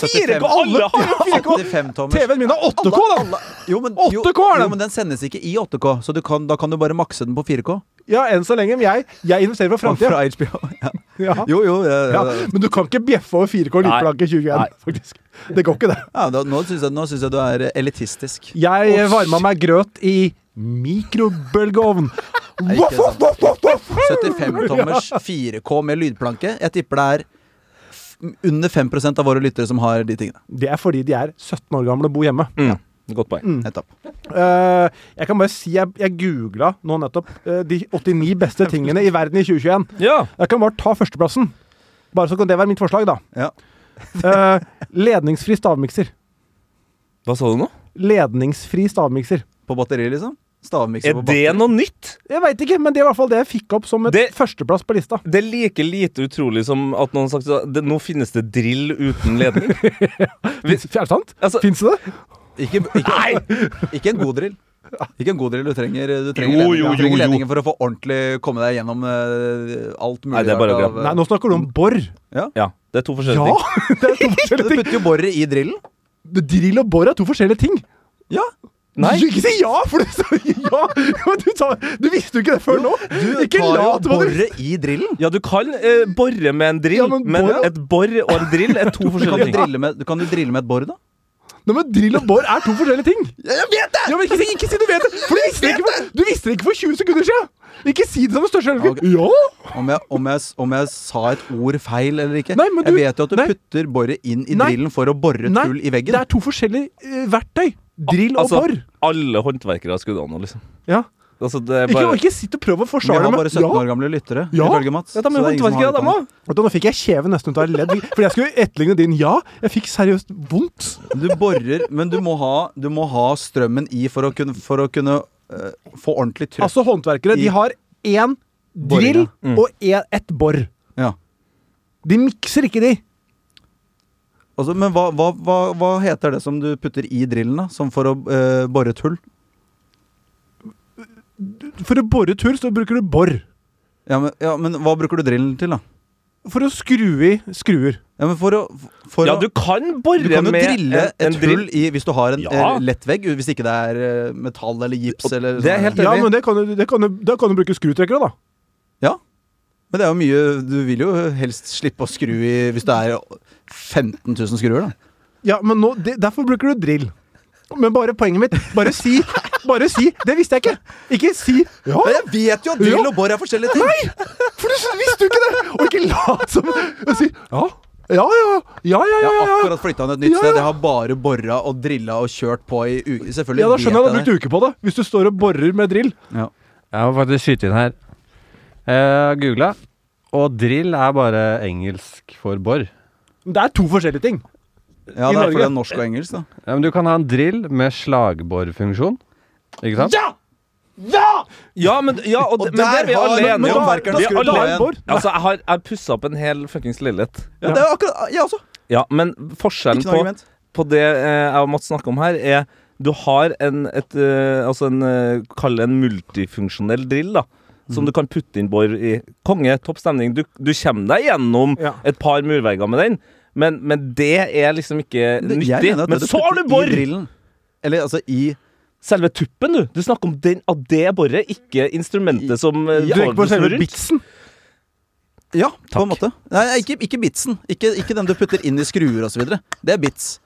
B: 75
F: Alle har jo
B: 85 tommer.
C: TV-en min er 8K, da!
B: Jo, men,
C: 8K er den!
B: jo, men den sendes ikke i 8K, så du kan, da kan du bare makse den på 4K.
C: Ja, enn så lenge. Men jeg, jeg investerer for framtida.
B: Fra HBO. Ja.
C: Ja.
B: Jo, jo. Ja,
C: Ja,
B: ja.
C: men du kan ikke bjeffe over 4K og lydplanke i 2021,
F: Nei.
C: faktisk. Det går ikke, det.
B: Ja, da, nå syns jeg, nå synes jeg du er elitistisk.
C: Jeg
B: Åh,
C: varma meg grøt i mikrobølgeovn.
B: ikke
C: Voff, voff,
B: sant.
C: voff, voff, voff.
B: 75-tommers 4K med lydplanke. Jeg tipper det er f- under 5 av våre lyttere som har de tingene.
C: Det er fordi de er 17 år gamle og bor hjemme.
B: Mm.
F: Godt poeng.
C: Mm.
B: Nettopp.
C: Eh, jeg kan bare si jeg, jeg googla nå nettopp eh, de 89 beste tingene i verden i 2021.
F: Ja.
C: Jeg kan bare ta førsteplassen. Bare så kan det være mitt forslag, da.
B: Ja.
C: Eh, ledningsfri stavmikser.
F: Hva sa du nå?
C: Ledningsfri stavmikser.
B: På batteri, liksom? Stavmikser
F: Er
B: på
F: det
B: bakken.
F: noe nytt?
C: Jeg veit ikke, men det er i hvert fall det jeg fikk opp som et
F: Det-
C: førsteplass på lista.
F: Det er like lite utrolig som at noen har sagt at det- nå finnes det drill uten ledning.
C: Fins er det sant?
F: Altså-
C: Fins det det?
B: Ikke, ikke, ikke en god drill. Ikke en god drill. Du trenger, du trenger,
F: Jo,
B: ledning.
F: jo,
B: Du trenger
F: jo, jo.
B: ledningen for å få ordentlig komme deg gjennom eh, alt mulig.
F: Nei, det er bare
B: rart
F: å
B: av,
F: glemme.
B: eh,
C: Nei, nå snakker du om bor.
F: Ja, det er to forskjellige
C: Ja!
F: ting.
C: Det er to
B: Du
C: forskjellige ting.
B: putter jo boret i drillen.
C: Drill og bor er to forskjellige ting.
B: Ja.
F: Nei.
C: Du ikke si ja, for du sa ja! Men du, sa, du visste jo ikke det før nå.
B: Du
C: Ikke
B: tar jo
C: lat som du
B: boret i drillen.
F: Ja, du kan eh, bore med en drill,
C: Ja, men
F: men,
C: bor-
F: et bor og en drill er to
B: Kan
F: forskjellige
B: du,
F: ting.
B: drille med, du- kan du drille med et bor, da?
C: Nei, men Drill og bor er to forskjellige ting.
B: Jeg vet det!
C: Ja, men ikke, si- ikke si du vet det! For du visste, det ikke for, du visste det ikke for 20 sekunder siden! Ikke si det som den største
B: Ja, ok.
C: helgen. Ja!
B: Om jeg, om, jeg, om jeg sa et ord feil eller ikke.
C: Nei, men du-
B: jeg vet jo at du
C: nei.
B: putter boret inn i
C: Nei.
B: drillen for å bore et
C: Nei,
B: hull i veggen.
C: Det er to forskjellige eh, verktøy. Drill og
F: Altså,
C: bor.
F: alle håndverkere skulle an, liksom.
C: Ja.
F: Altså, det er
C: Ikke,
F: bare...
C: ikke sitt og prøv å
B: Vi
C: forsvare
B: har
C: det
B: bare 17 år gamle lyttere,
C: Ja.
B: ifølge Mats.
F: Ja, de
B: så det
F: er
B: ingen som har
F: håndverkere,
B: det
F: dem òg.
C: Vet du, Nå fikk jeg kjeven nesten ut av ledd. Fordi jeg skulle etterligne din ja. Jeg fikk seriøst vondt.
B: Du borer, men du må ha, du må ha strømmen i for å kunne, for å kunne eh, få ordentlig trykk.
C: Altså, håndverkere de
B: I-
C: har én drill
B: Boringa.
F: Mm.
C: og en, ett bor.
B: ja.
C: De mikser ikke, de.
B: altså, men hva, hva, hva, hva heter det som du putter i drillen, da? Som for å eh, bore et hull?
C: For å bore tur, så bruker du bor.
B: Ja men, ja, men hva bruker du drillen til, da?
C: For å skru i skruer.
B: Ja, men for å, for
F: Ja,
B: å
F: du kan bore
B: Du kan jo
F: med
B: drille
F: en,
B: et
F: en drill.
B: hull i, hvis du har en
F: Ja.
B: eh, lett vegg, hvis ikke det er eh, metall eller gips eller sånn.
F: det er helt
B: ja,
C: Ja,
F: enig.
B: men,
C: men det kan du, det kan du, da kan du bruke skrutrekkere, da.
B: men det er jo mye Du vil jo helst slippe å skru i hvis det er 15 000 skruer, da.
C: Ja, men nå, det, Derfor bruker du drill. Men bare poenget mitt Bare si! Bare si! Det visste jeg ikke! Ikke si ja,
B: Men jeg vet jo at
C: Ja.
B: drill og bor er forskjellige ting!
C: for du visste jo ikke det! Og ikke lat som og si ja. Ja, ja, ja, ja, ja,
B: Jeg har
C: ja, ja.
B: akkurat flytta til et nytt
C: Ja, ja.
B: sted. Jeg har bare bora og drilla og kjørt på i uke. Selvfølgelig
C: Ja, da
B: vet
C: skjønner jeg at du har
B: jeg
C: brukt uke på det. Hvis du står og borer med drill.
B: det. Ja.
G: Jeg må faktisk skyte inn her. Eh, Googla, og drill er bare engelsk for bor.
C: Det er to forskjellige ting.
B: ja,
C: I
B: det er
C: Norge.
B: fordi det er norsk og engelsk, da.
G: Ja, men du kan ha en drill med slagborfunksjon. Ikke sant?
F: Ja, men, ja, og,
B: Og
F: men der
B: der
F: er vi
B: har
F: alle enige om.
B: men da-
F: Vi er
B: håndverkerne skrudd
F: alle
B: på
F: enige.
B: igjen.
C: bor.
F: Altså, jeg har jeg pussa opp en hel fuckings leilighet.
B: Ja, det er akkurat Jeg også.
F: Ja, men forskjellen
B: Ikke noe
F: på
B: argument.
F: på det eh, jeg og Mats snakker om her, er du har en, et, eh, altså en eh, Kall det en multifunksjonell drill, da.
B: Mhm.
F: Som du kan putte inn bor i. Konge, topp stemning. Du, du kommer deg gjennom
C: Ja.
F: et par murvegger med den, men, men det er liksom ikke
B: Jeg
F: nyttig.
B: mener at
F: Men
B: det du
F: så har du
B: putter i
F: bor!
B: drillen, Eller altså i
F: Selve tuppen, du. Du snakker om den av det boret, ikke instrumentet som eh,
C: Du tenker på
F: som
C: selve
F: rundt.
C: bitsen.
B: Ja, på en måte. Nei, ikke, ikke bitsen. Ikke, ikke den du putter inn i skruer osv. Det er bits.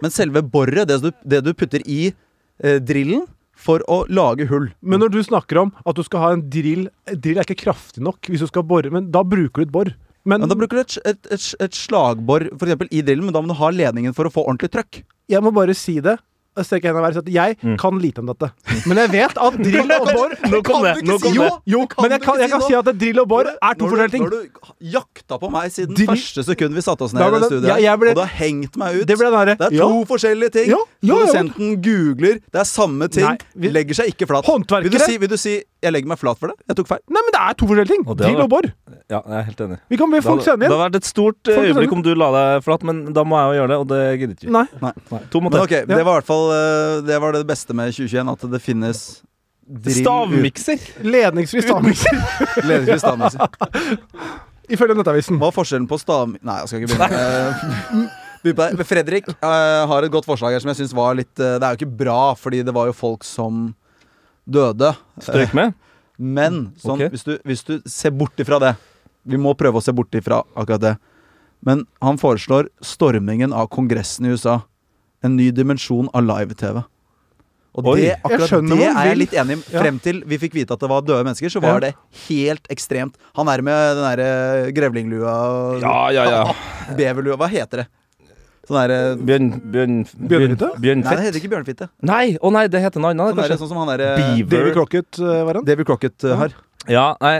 B: Men selve boret, det, du- det du putter i eh, drillen for å lage hull.
C: Men når du snakker om at du skal ha en drill Drill er ikke kraftig nok hvis du skal bore, men da bruker du et bor. Men
B: Men da bruker du et, et, et, et slagbor for eksempel, i drillen, men da må du ha ledningen for å få ordentlig trøkk.
C: jeg må bare si det. og strekke hendene i været, si at Jeg kan lite om dette, men jeg vet at drill og bor
F: Nå kom det! Nå kom det.
C: Jo, men jeg kan, jeg kan si at drill og bor er to
B: Nå har
C: forskjellige
B: du-
C: ting.
B: nå har du jakta på meg siden
C: Drill-
B: første sekund vi satte oss ned
C: Da
B: i
C: ble
B: det
C: det-
B: studioet.
C: jeg- jeg ble-
B: og du har hengt meg ut.
C: Det ble den
B: Det
C: derre
B: er to forskjellige ting.
C: Ja, ja, ja.
B: Produsenten googler, det er samme ting.
C: Nei, vi-
B: Legger seg ikke flat.
C: Håndverkere-
B: Vil du, si, vil du si 'jeg legger meg flat for det'? Jeg tok feil.
C: Nei, men det er to forskjellige ting.
F: Og det
C: Drill
F: var-
C: og bor.
F: Ja, jeg er helt enig.
C: Vi kan be
F: Det
C: folk
F: hadde,
C: sende inn.
F: det hadde vært et stort eh,
C: Folk sender
F: øyeblikk om du la deg flat, men da må jeg jo gjøre det, og det gidder ikke.
C: Nei.
F: To mot
B: Men
F: ett.
B: ok, det var i hvert fall eh, Det var det beste med 2021, at det finnes drill
F: Stavmikser!
C: Ledningsfri stavmikser,
B: ut- ledningsvis stavmikser.
C: ifølge Nettavisen.
B: altså. Hva er forskjellen på stav... Nei, jeg skal ikke begynne. Eh, begynne på det. Men Fredrik eh, har et godt forslag her som jeg syns var litt eh, Det er jo ikke bra, fordi det var jo folk som døde.
F: Strøk med.
B: Men
C: Mm,
B: sånn,
F: Ok.
B: hvis, du, hvis du ser bort ifra det Vi må prøve å se bort ifra akkurat det. Men han foreslår stormingen av Kongressen i USA. En ny dimensjon av live-TV. Og
F: Oi.
B: det,
F: Jeg
B: akkurat
C: skjønner
B: det
C: hva han
B: er jeg
C: vil.
B: litt enig i.
C: Ja.
B: Frem til vi fikk vite at det var døde mennesker, så var
C: Ja.
B: det helt ekstremt. Han er med den derre grevlinglua og
F: Ja, ja, ja.
B: beverlua. Hva heter det? Sånn derre
F: Bjørn... Bjørn...
B: Nei,
C: Bjørnfitte?
B: det
F: Bjørnfett?
B: heter ikke bjørnfitte.
F: Nei, å nei, det heter noe annet.
B: Sånn, derre-
F: kanskje.
B: sånn som han derre
C: David
F: Beaver.
C: Crocket eh, var han.
B: Davy Crocket eh, har.
F: Ja, nei.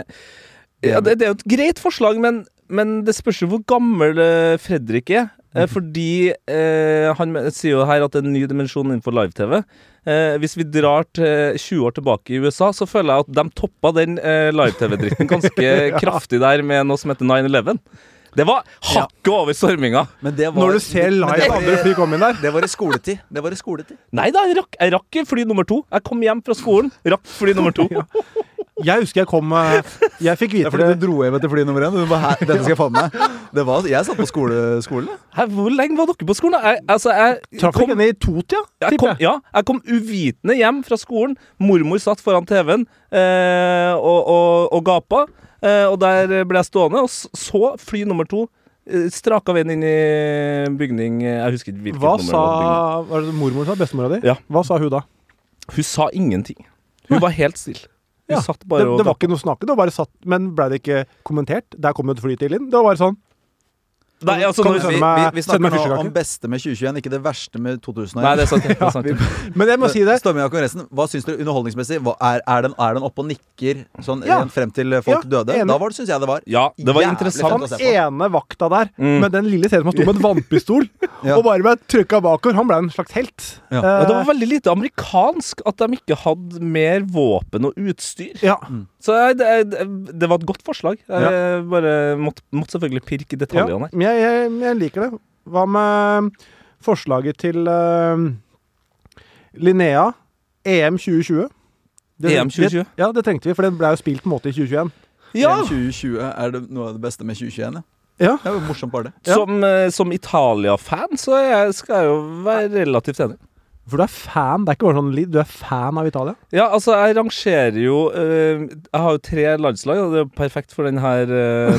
F: Ja, det, det er jo et greit forslag, men, men det spørs jo hvor gammel eh, Fredrik er. Eh, Eh, fordi eh, han me- sier jo her at det er en ny dimensjon innenfor live-TV. Eh, hvis vi drar til 20 år tilbake i USA, så føler jeg at de toppa den eh, live-TV-dritten ganske kraftig der med noe som heter 9-11. Det var hakket over storminga!
B: Men det var,
C: Når du ser
B: men det
C: live
B: var-
C: andre fly komme inn der
B: Det var i skoletid. Det var i skoletid.
F: Nei da, jeg rakk, jeg rakk fly nummer to. Jeg kom hjem fra skolen, rakk fly nummer to.
C: Jeg husker jeg kom eh, Jeg fikk
B: Det er
C: vite
B: fordi
C: det
B: du dro hjem etter fly nummer én. Du bare, "Hæ, Dette skal jeg faen meg det var, Jeg satt på skole, skolen. jeg.
F: Hæ, hvor lenge var dere på skolen? da? Jeg, altså, jeg
C: Traff
F: kom,
C: ikke henne i totida,
F: jeg kom,
C: tipper jeg.
F: ja, jeg kom uvitende hjem fra skolen. Mormor satt foran TV-en eh, og, og, og gapa. Eh, og der ble jeg stående. Og s- så fly nummer to eh, straka veien inn i bygning eh, Jeg husker ikke hvilket
C: Hva
F: nummer. det
C: sa
F: var bygning.
C: var det mormor sa? Bestemora di?
F: Ja.
C: Hva sa hun da?
F: Hun sa ingenting. Hun var helt stille. Hun
C: Ja,
F: satt
C: Det,
F: bare og
C: det var ikke noe snakk, det var bare satt Men ble det ikke kommentert? Der kom det et fly til inn. Det var bare sånn.
F: Nei, altså,
C: Kan
F: når-
C: du sende
B: Vi,
C: meg-
B: vi, vi
C: send
B: snakker
C: meg
B: nå
C: fyrstekake.
B: om beste med 2021, ikke det verste med 2001.
F: Nei, det er sant. Det er sant.
C: Men jeg må si det.
B: Storming av Kongressen, hva syns dere underholdningsmessig? Hva, er, er, den, er den oppe og nikker sånn
C: Ja.
B: rent frem til folk
C: Ja,
B: døde?
C: enig.
B: Da var det, syns jeg det var.
F: Ja, det var
B: Jævlig
F: interessant.
B: fant
C: Han
B: å se på.
C: ene vakta der,
F: Mm.
C: med den lille serien som sto med en vannpistol,
B: Ja.
C: og bare ble trykka bakover, han ble en slags helt.
B: Ja.
C: Eh,
F: Ja, det var veldig lite amerikansk at de ikke hadde mer våpen og utstyr.
C: ja.
F: Så jeg, det, jeg- det var et godt forslag. Jeg bare måtte, måtte selvfølgelig pirke i
C: Ja,
F: detaljene. her.
C: men jeg, jeg, jeg liker det. Hva med eh, forslaget til eh, Linnea? E EM 2020?
F: EM 2020?
C: Det, ja, det trengte vi, for den ble jo spilt på en måte i 2021.
F: Ja!
B: 2020 er det noe av det beste med 2021. Ja.
C: Ja.
B: Det var morsomt bare det.
F: Som, eh, som Italia-fan så er jeg, skal jeg jo være relativt enig.
C: For du er fan. Det er ikke bare sånn lidd, du er fan av Italia.
F: Ja, altså, jeg rangerer jo eh, Jeg har jo tre landslag, og det er jo perfekt for denne uh,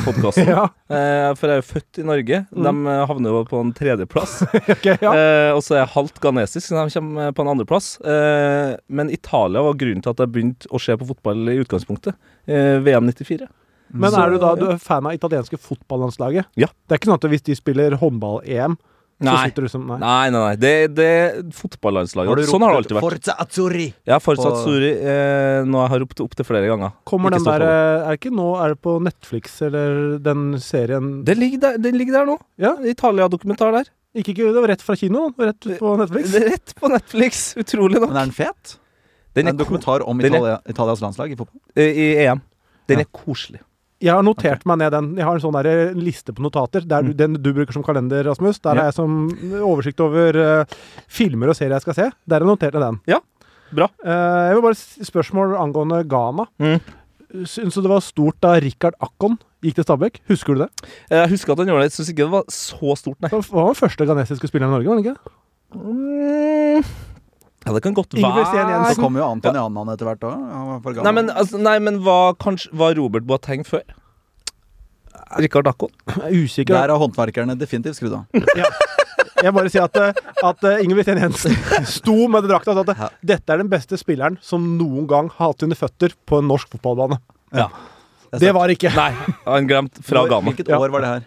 F: podkasten.
C: Ja, Mm.
F: for jeg er jo født i Norge. De eh, havner jo på en tredjeplass.
C: ok, ja.
F: Eh, og så er jeg halvt ghanesisk, så de kommer på en andreplass. Eh, men Italia var grunnen til at jeg begynte å se på fotball i utgangspunktet. Eh, VM 94.
C: Men
F: Så-
C: er du da du er fan av italienske fotballandslaget?
F: Ja.
C: Det er ikke sånn at hvis de spiller håndball-EM, så
F: Nei.
C: sitter du som Nei.
F: Nei, nei, nei. Det, det fotballandslaget. Sånn har det alltid vært.
B: Forza Azzurri!
F: Jeg har fortsatt
B: På-
F: Suri eh, nå har jeg ropt opp til flere ganger.
C: Kommer
F: Ikke
C: den
F: stå
C: der eh,
F: på det.
C: Er det ikke nå Er det på Netflix eller den serien
F: Det ligger der, Den ligger der nå.
C: Ja.
F: Italia-dokumentar der.
C: Gikk ikke Det var rett fra kino, rett ut på Netflix.
F: Det er Rett på Netflix. Utrolig nok.
B: Men er den fet? Det
F: Den
B: er
F: er
B: en dokumentar om
F: den er-
B: Italia, Italias landslag i fotball.
F: ko- eh, I EM. Den
B: Ja.
F: er koselig.
C: Jeg har notert meg ned den. Jeg har en sånn der liste på notater. Der du, den du bruker som kalender, Rasmus. Der
F: Mm. Ja.
C: har jeg som oversikt over eh, filmer og serier jeg skal se. Der har jeg notert ned den.
F: Ja. Bra.
C: Eh, jeg vil bare s- spørsmål angående Ghana.
F: Mm.
C: Syns du det var stort da Rikard Akkon gikk til Stabæk? Husker du det?
F: Eh, Jeg husker at han gjorde det. Jeg syns ikke det var så stort, nei.
C: Han var den første ghanesiske spilleren i Norge, var han ikke? det?
F: Mm. Ja, det kan godt være
C: Ingvild Sten
B: Så
C: Jensen.
B: kom jo Anton Janan etter hvert òg.
F: Nei, men, altså, nei, men var, kanskje, var Robert Boateng før? Rikard Akkon?
C: Jeg er usikker.
B: Der har håndverkerne definitivt skrudd av.
C: Jeg bare sier at, eh, at eh, Ingvild Sten Jensen sto med det drakta og sa at eh, dette er den beste spilleren som noen gang har hatt sine føtter på en norsk fotballbane.
F: Ja.
C: Det var det ikke.
F: Nei, han glemte fra
B: Hvor-
F: Ghana.
B: Hvilket
C: Ja.
B: år var det her?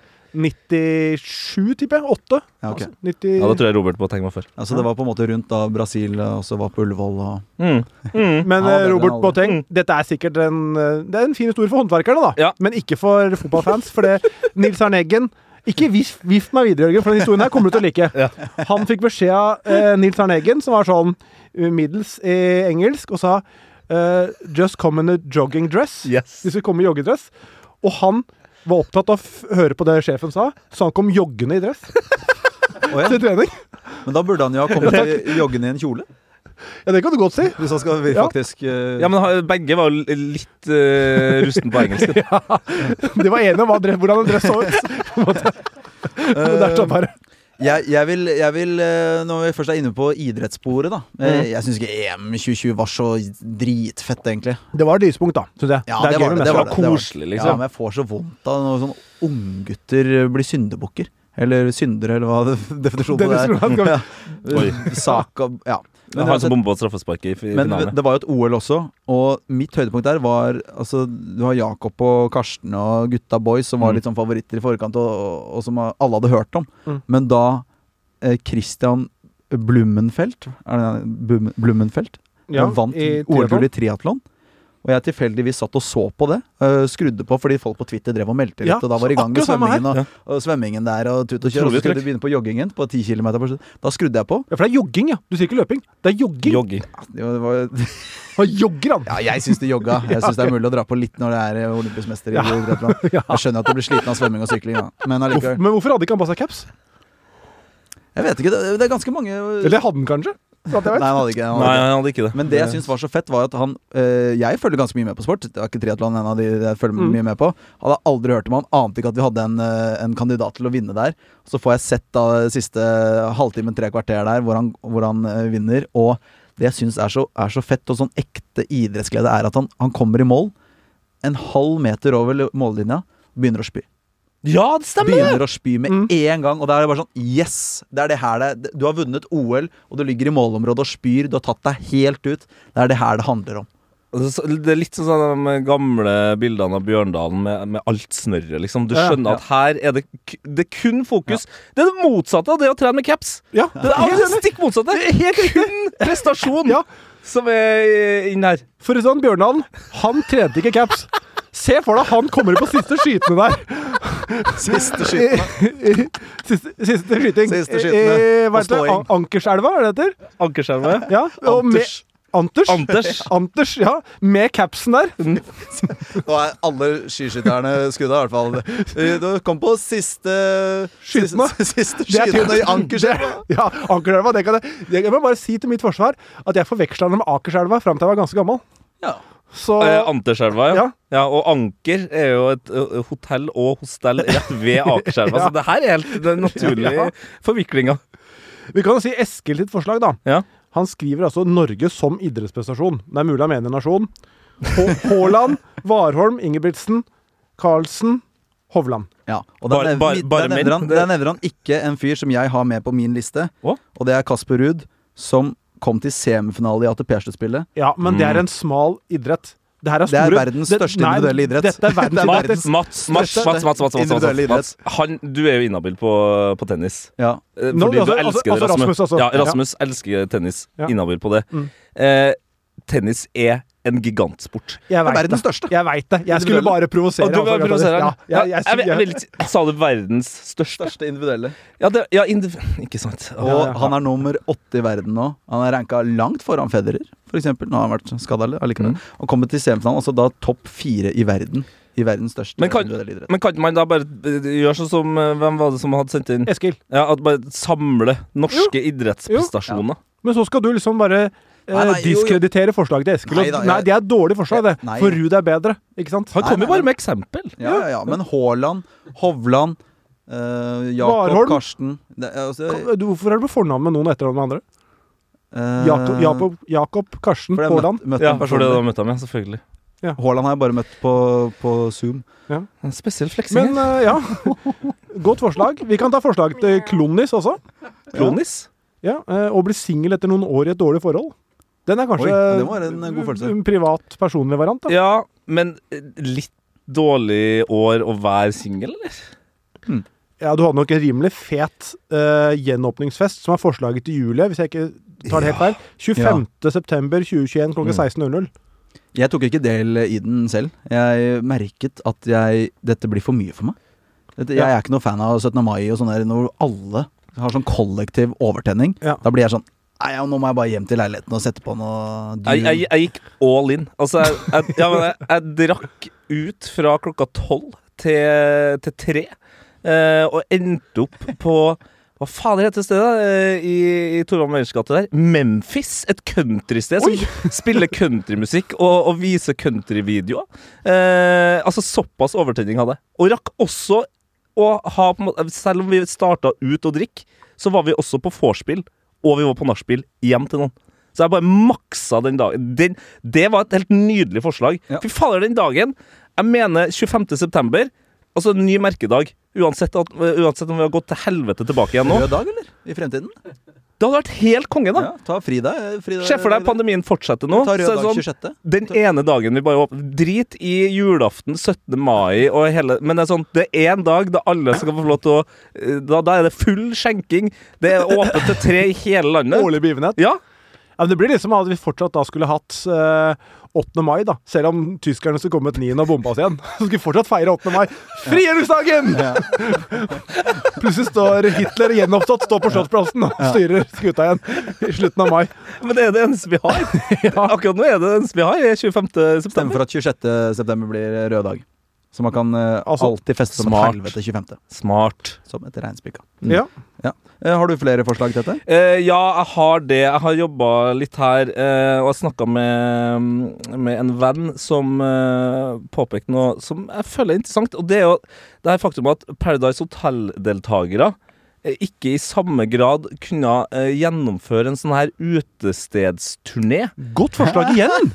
C: 97, tipper jeg. 8.
B: Ja, ok.
C: Altså, 90...
F: Ja, Da tror jeg Robert Boateng var før.
B: Altså, det var på en måte rundt da Brasil eh, også var på Ullevål og
F: Mm. Mm.
C: Men
B: Ja,
C: eh,
B: det er
C: Robert
B: den aldri.
C: Boateng, dette er sikkert en, eh, det er en fin historie for håndverkerne, da.
F: Ja.
C: Men ikke for fotballfans. For det, Nils Arne Eggen Ikke vif, vift meg videre, Jørgen, for den historien her kommer du til å like.
F: Ja.
C: Han fikk beskjed av eh, Nils Arne Eggen, som var sånn eh, middels i engelsk, og sa eh, Just come in a jogging dress.
F: Yes.
C: De skulle komme i joggedress. Og han var opptatt av å f- høre på det sjefen sa, så han kom joggende i dress
B: Å, ja.
C: til trening.
B: Men da burde han jo ha kommet i- joggende i en kjole.
C: Ja, det kan du godt si.
B: Hvis han skal vi
C: Ja.
B: faktisk eh,
F: Ja, men ha- begge var jo l- litt eh, rusten på engelsk.
C: De var enige om hva, dre- hvordan en dress så ut. Men det er sånn bare
B: eh, jeg, jeg, vil, jeg vil, eh, når vi først er inne på idrettssporet, da eh, Jeg syns ikke EM 2020 var så dritfett, egentlig.
C: Det var et lyspunkt, da, syns jeg.
B: Ja,
C: er
B: det
C: gøy
B: var
C: med
B: det,
F: Det
C: mester.
B: det,
F: var
B: det var
F: koselig,
B: Ja,
F: liksom.
B: men jeg får så vondt av når sånne unggutter blir syndebukker. Eller syndere, eller hva det- definisjonen på
C: Den
B: det er.
C: diskusjonen skal vi-
F: Oi.
B: Saka Ja. Men,
F: Han
B: uansett,
F: som bomba straffesparket i f- i
B: men
F: finalen.
B: det var jo et OL også, og mitt høydepunkt der var Altså, du har Jakob og Karsten og gutta boys som var
F: Mm.
B: litt sånn favoritter i forkant, og, og som alle hadde hørt om.
C: Mm.
B: Men da eh, Christian Blummenfelt, er det Blum- Blummenfelt?
C: Ja,
B: han vant
C: i
B: OL-gull
C: triathlon.
B: i triatlon. Og jeg tilfeldigvis satt og så på det. øh, skrudde på fordi folk på Twitter drev og meldte litt.
C: Ja,
B: og da var det i gang med
C: akkurat samme her.
B: svømmingen og, og svømmingen der og tut og kjør. Og
F: Utrolig
B: så skulle
F: trøkk.
B: du begynne på joggingen på 10 km. Da skrudde jeg på.
C: Ja, for det er jogging, ja. Du sier ikke løping. Det er jogging.
F: Jogging.
B: Det var, det var,
C: Han jogger, han!
B: ja, jeg syns de jogga. Jeg syns det er mulig å dra på litt når det er øh, olympisk mester i idrettsland. Jeg skjønner at du blir sliten av svømming og sykling, da. men
C: Hvorfor,
B: allikevel.
C: men hvorfor hadde ikke han på seg caps?
B: Jeg vet ikke, det, det er ganske mange
C: Eller det hadde han kanskje? For at
B: Nei,
C: jeg vet.
B: han hadde ikke, han hadde
F: Nei,
B: ikke.
F: han hadde ikke det.
B: Men det jeg syns var så fett, var at han øh, Jeg følger ganske mye med på sport. Det er ikke triatlon en av de jeg følger
C: Mm.
B: mye med på. Hadde aldri hørt om han. Ante ikke at vi hadde en, øh, en kandidat til å vinne der. Så får jeg sett da siste halvtimen, tre kvarter der, hvor han, hvor han øh, vinner. Og det jeg syns er, så- er så fett og sånn ekte idrettsglede, er at han, han kommer i mål en halv meter over l- mållinja. Begynner å spy.
F: Ja, det stemmer!
B: Begynner å spy med
C: Mm.
B: en gang. Og da er det bare sånn Yes! Det er det her det Du har vunnet OL, og du ligger i målområdet og spyr. Du har tatt deg helt ut. Det er det her det handler om.
F: Altså, så- Det er litt sånn som de gamle bildene av Bjørndalen med, med alt snørret, liksom. Du
C: Ja, ja.
F: skjønner at her er det, k- det er kun fokus. Det er det motsatte av det å trene med caps.
C: Ja,
F: Det er
C: helt
F: det
C: enig.
F: stikk motsatte. kun prestasjon
C: Ja.
F: som er inn her.
C: For å si sånn, Bjørndalen, han trente ikke caps. Se for deg han kommer på siste skytene der.
B: Siste
C: Siste, siste skyting.
B: Siste skytene.
C: Eh, hva
B: Og
C: heter det?
B: ståing.
C: An- Ankerselva, er det det heter?
F: Ankerskjermet.
C: Ja, og med-
F: Anters.
C: Anters.
F: Anters.
C: Anters, ja. Med capsen der.
B: Nå er alle skiskytterne skudda, i hvert fall. Eh, Du kom på siste
C: Skytene.
B: siste- Siste
C: Det er
B: skytene i
C: tøft.
B: Ankerselv.
C: Ja, Ankerselva, det kan jeg Det jeg må bare si til mitt forsvar at jeg forveksla den med Akerselva fram til jeg var ganske gammel.
B: Ja.
C: Så
F: Eh, Anterselva, ja.
C: Ja.
F: ja. Og Anker er jo et eh, hotell og hostell rett ved Akerselva. Så det her er helt den naturlige
C: Ja.
F: forviklinga.
C: vi kan jo si Eskil sitt forslag, da.
F: Ja.
C: Han skriver altså Norge som idrettsprestasjon. Det er mulig han mener nasjon. H- Haaland, Warholm, Ingebrigtsen, Carlsen, Hovland.
B: Ja, og der,
F: Bare-
B: nevner-
F: bare- bare
B: der,
F: menn.
B: nevner han, der nevner han ikke en fyr som jeg har med på min liste,
F: Hva?
B: og det er Kasper Ruud, som kom til semifinale i ATP-sluttspillet.
C: Ja, men det er en smal idrett. Det, her er
B: Mm. Det er
C: store,
B: verdens største individuelle idrett.
C: Dette er verdens
B: Det er
C: idrett.
F: Mats, Mats, Mats,
B: Største
F: Mats, Mats, Mats, Mats, Mats,
B: individuelle
F: Mats,
B: idrett.
F: Mats. Han, du er jo inhabil på, på tennis.
B: Ja.
F: Eh, Fordi
C: Nå, altså-
F: du elsker
C: altså-
F: det,
C: altså
F: Rasmus.
C: Rasmus, altså.
F: Ja,
C: Ja.
F: Rasmus elsker tennis.
C: Ja. Mm.
F: Inhabil på det. Eh, tennis er en gigantsport.
C: Jeg
B: Det er
C: vet
B: verdens
C: det.
B: største.
C: Jeg veit det. Jeg skulle
B: Individuelle.
C: bare provosere.
F: Og du
C: altså,
F: vil provosere
C: Ja,
F: han?
C: jeg,
F: Ja,
C: jeg,
F: jeg,
C: jeg,
F: jeg, vil ikke- Sa du verdens største?
B: Største individuelle.
F: Ja, det, ja indiv- ikke sant.
B: Og
C: Ja, ja.
B: han er nummer åtte i verden nå. Han er ranka langt foran Federer, f.eks. Nå har han vært skada allikevel.
F: Mm.
B: Og kommet til semifinalen, altså da topp fire i verden. I verdens største
F: Men kan-
B: individuelle idrett.
F: Men kan ikke man da bare eh, gjøre sånn som eh, Hvem var det som hadde sendt inn?
C: Eskil,
F: Ja, at bare Samle norske idrettsprestasjoner.
C: men så skal du liksom bare eh,
B: Nei, nei, jo, jo.
C: diskreditere forslaget til Eskil. og-
B: Nei da, jeg-
C: nei, det er et dårlig forslag, det.
B: Nei.
C: For Ruud er bedre, ikke sant?
F: Han kom
B: Nei,
F: jo
B: nei,
F: bare med eksempel.
B: Ja, ja, ja. Men Haaland, Hovland, eh, Jakob
C: Warholm.
B: Karsten det, er altså,
C: Kan- du- Hvorfor er du på fornavn med noen og etternavn med andre?
B: eh,
C: Jakob, Jakob, Jakob Karsten
B: For jeg møtte,
C: Haaland.
B: møtte
F: Ja,
B: en
F: for det
B: person
F: da møtte han med, selvfølgelig.
B: Haaland har jeg bare møtt på, på Zoom.
F: En spesiell fleksing.
C: Men eh, ja, godt forslag. Vi kan ta forslag til Klonis også.
F: Klonis?
C: Ja, eh, Å bli singel etter noen år i et dårlig forhold. Den er kanskje
B: Oi, det var en eh, god følelse.
C: en privat, personlig variant. da.
F: Ja, men eh, litt dårlig år å være singel, eller?
C: Ja, Du hadde nok en rimelig fet eh, gjenåpningsfest, som er forslaget til Julie, hvis jeg ikke tar det helt feil. 25. september 2021
B: Mm.
C: klokka 16.00.
B: Jeg tok ikke del i den selv. Jeg merket at jeg Dette blir for mye for meg. Dette, jeg
C: Ja.
B: er ikke noe fan av 17. mai og sånn der når alle har sånn kollektiv overtenning.
C: Ja.
B: Da blir jeg sånn Nei, ja, nå må jeg bare hjem til leiligheten og sette på noe
F: Jeg, jeg, jeg gikk all in. Altså, jeg, jeg, ja, men jeg, jeg drakk ut fra klokka tolv til, til tre, eh, og endte opp på hva faen er dette stedet? eh, I, i Torvald Meyers gate der. Memphis. Et countrysted som spiller countrymusikk og, og viser countryvideoer. Eh, altså, såpass overtenning hadde jeg. Og rakk også å ha på en måte, Selv om vi starta ut å drikke, så var vi også på vorspiel, og vi var på nachspiel hjem til noen. Så jeg bare maksa den dagen. Den, det var et helt nydelig forslag.
B: Ja.
F: Fy fader, den dagen Jeg mener 25. september, altså en ny merkedag. Uansett, at, eh, uansett om vi har gått til helvete tilbake igjen nå.
B: Rød dag, eller? I fremtiden?
F: Det hadde vært helt konge, da.
B: Ja, ta fridag. fridag
F: Se for deg pandemien fortsetter nå.
B: Ta rød
F: så er det
B: dag 26.
F: sånn, den ene dagen vi bare åpner Drit i julaften, 17. mai og hele Men det er sånn, det er en dag da alle skal få lov til å eh, Da, da er det full skjenking. Det er åpent til tre i hele landet.
C: Årlig begivenhet.
F: Ja.
C: Ja, men det blir liksom at vi fortsatt da skulle hatt eh, 8. mai, da. Selv om tyskerne skulle kommet 9. og bomba oss igjen. Så skulle vi fortsatt feire 8. mai. Frigjøringsdagen! Plutselig står Hitler gjenoppstått, står på Slottsplassen og styrer skuta igjen i slutten av mai.
F: Men det er det eneste vi har. Akkurat nå er det det eneste vi har. Det er 25.
B: Stemmer
F: september.
B: for at 26. september blir rød dag. Så man kan eh,
C: Altså,
B: alltid feste som
F: smart.
B: en helvete 25.
F: Smart.
B: Som et regnspikka.
C: Ja.
B: Eh, har du flere forslag til dette?
F: Eh, ja, jeg har det. Jeg har jobba litt her, eh, og jeg snakka med, med en venn som eh, påpekte noe som jeg føler er interessant, og det er jo det her faktum at Paradise Hotel-deltakere eh, ikke i samme grad kunne eh, gjennomføre en sånn her utestedsturné.
C: Godt forslag igjen!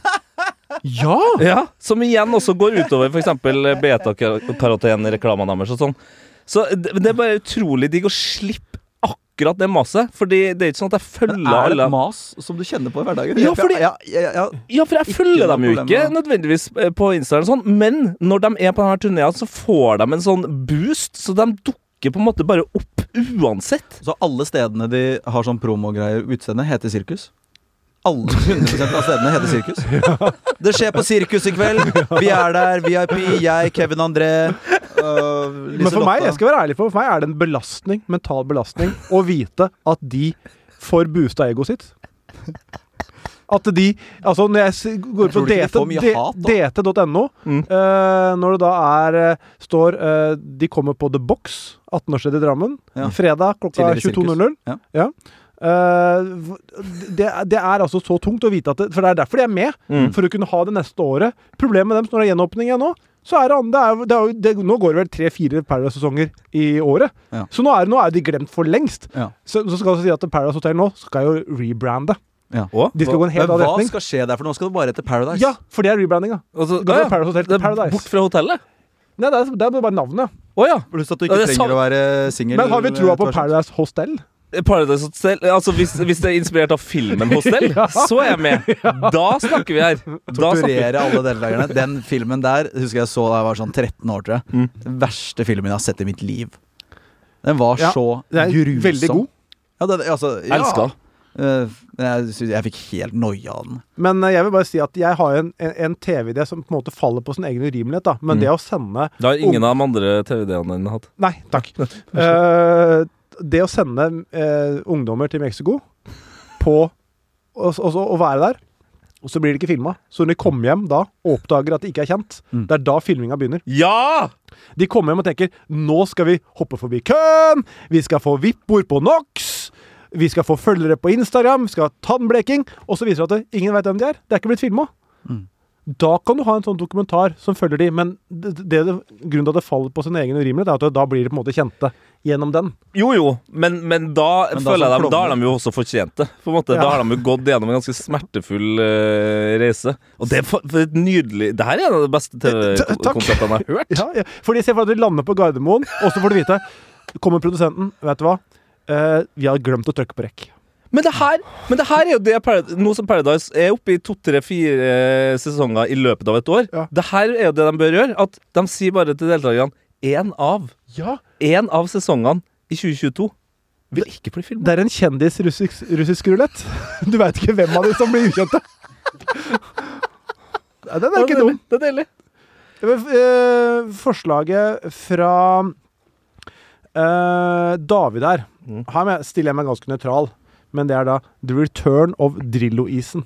C: Ja!
F: Ja, som igjen også går utover f.eks. beta-karoten-reklamen deres og sånn. Så det, det er bare utrolig digg å slippe akkurat det maset, Fordi det er ikke sånn at jeg følger
B: Er det
F: alle
B: et mas som du kjenner på i hverdagen?
F: Ja, fordi-
B: ja, ja, ja.
F: Ja, for jeg
B: Ikke
F: følger
B: noe
F: dem jo
B: problem
F: ikke
B: med det.
F: nødvendigvis eh, på Insta, eller sånn, men når de er på denne turneen, så får de en sånn boost, så de dukker på en måte bare opp uansett.
B: Så alle stedene de har sånn promogreier utseende, heter sirkus? Alle 100 av stedene heter sirkus. Det skjer på sirkus i kveld. Vi er der. VIP, jeg, Kevin André øh,
C: Men for meg, jeg skal være ærlig på, for meg er det en belastning, mental belastning, å vite at de får boosta egoet sitt. At de Altså, når jeg s- går på
B: tror ikke de får mye hat,
C: dt.no,
F: Mm.
C: eh, når det da er eh, står eh, De kommer på The Box, 18-årsstedet i Drammen,
B: Ja.
C: fredag klokka
B: Tidligere sirkus.
C: 22.00.
B: Ja.
C: Eh, v- det, det er altså så tungt å vite at det, For det er derfor de er med.
F: Mm.
C: For å kunne ha det neste året. Problemet med dem når det er gjenåpning igjen nå, så er det, an- det, er, jo- det, er, jo- det Nå går det vel tre-fire Paradise-sesonger i året.
B: Ja.
C: Så nå er, nå er de glemt for lengst.
B: Ja.
C: Så, så skal jeg si at Paradise Hotel nå skal jo rebrande.
F: Å,
C: De skal gå en helt
B: Men
C: annen
B: hva
C: retning.
B: skal skje der, for nå skal det bare hete Paradise?
C: Ja, for det er rebrandinga.
F: altså,
C: Det går
F: ja,
C: fra Paradise Hotel
F: det
C: til
F: er
C: Paradise.
F: bort fra hotellet.
C: Nei, det er, det er bare navnet.
F: Å ja.
B: Pluss at du
F: Ja,
B: ikke
F: det er sant.
B: trenger å være singel.
C: Men har vi trua på
B: tvers-
C: Paradise Hostel?
F: Paradise Hotel Altså hvis, hvis det er inspirert av filmen Hostel,
C: Ja.
F: så er jeg med. Da snakker vi her. Da snakker vi.
B: Torturere alle deltakerne. Den filmen der husker jeg så da jeg var sånn 13 år, tror jeg.
C: Mm.
B: Den verste filmen jeg har sett i mitt liv. Den var
C: Ja,
B: så
C: Det er
B: grusom.
C: veldig god.
B: Ja, den, altså, ja.
F: Elska.
B: Eh, jeg, synes- jeg fikk helt noia av den.
C: Men eh, jeg vil bare si at jeg har en, en, en TV-idé som på en måte faller på sin egen urimelighet. da Men
F: Mm.
C: det å sende
F: Det har ingen av de andre TV-ideene dine hatt.
C: Nei, takk. Eh, det å sende eh, ungdommer til Mexico på og, og, så- og være der, og så blir det ikke filma. Så når de kommer hjem da og oppdager at de ikke er kjent,
B: Mm.
C: det er da filminga begynner.
F: Ja!
C: De kommer hjem og tenker nå skal vi hoppe forbi køen, vi skal få vippord på NOx, vi skal få følgere på Instagram, vi skal ha tannbleking, og så viser det at det- ingen veit hvem de er. Det er ikke blitt filma.
B: Mm.
C: Da kan du ha en sånn dokumentar som følger de, men det, det, det, grunnen til at det faller på sin egen urimelighet, er at da blir de på en måte kjente gjennom den.
F: Jo, jo, men, men da
B: Men da
F: føler
B: som
F: jeg dem, da har
B: klovner.
F: de jo også fortjent det. På en måte. Da
C: Ja.
F: har de jo gått gjennom en ganske smertefull eh, reise. Og det er for, for et nydelig Det her er en av de beste
C: Ta- takk.
F: TV-konseptene jeg har hørt.
C: Ja, ja. Fordi Se for deg at du lander på Gardermoen, og så får du vite Kommer produsenten, vet du hva? Eh, vi har glemt å trykke på rekk.
F: Men det her, men det her er jo det Parad- Nå som Paradise er oppe i to-tre-fire eh, sesonger i løpet av et år,
C: Ja.
F: det her er jo det de bør gjøre. At de sier bare til deltakerne én av
C: Ja.
F: en av sesongene i 2022 vil ikke bli filma.
C: Det er en kjendis russisk, russisk rulett. Du veit ikke hvem av de som blir ukjente. Nei, den er ikke dum.
F: Det er deilig.
C: Eh, Forslaget fra eh, David her
F: Mm.
C: Her må jeg- stiller jeg meg ganske nøytral, men det er da The Return of Drillo-isen.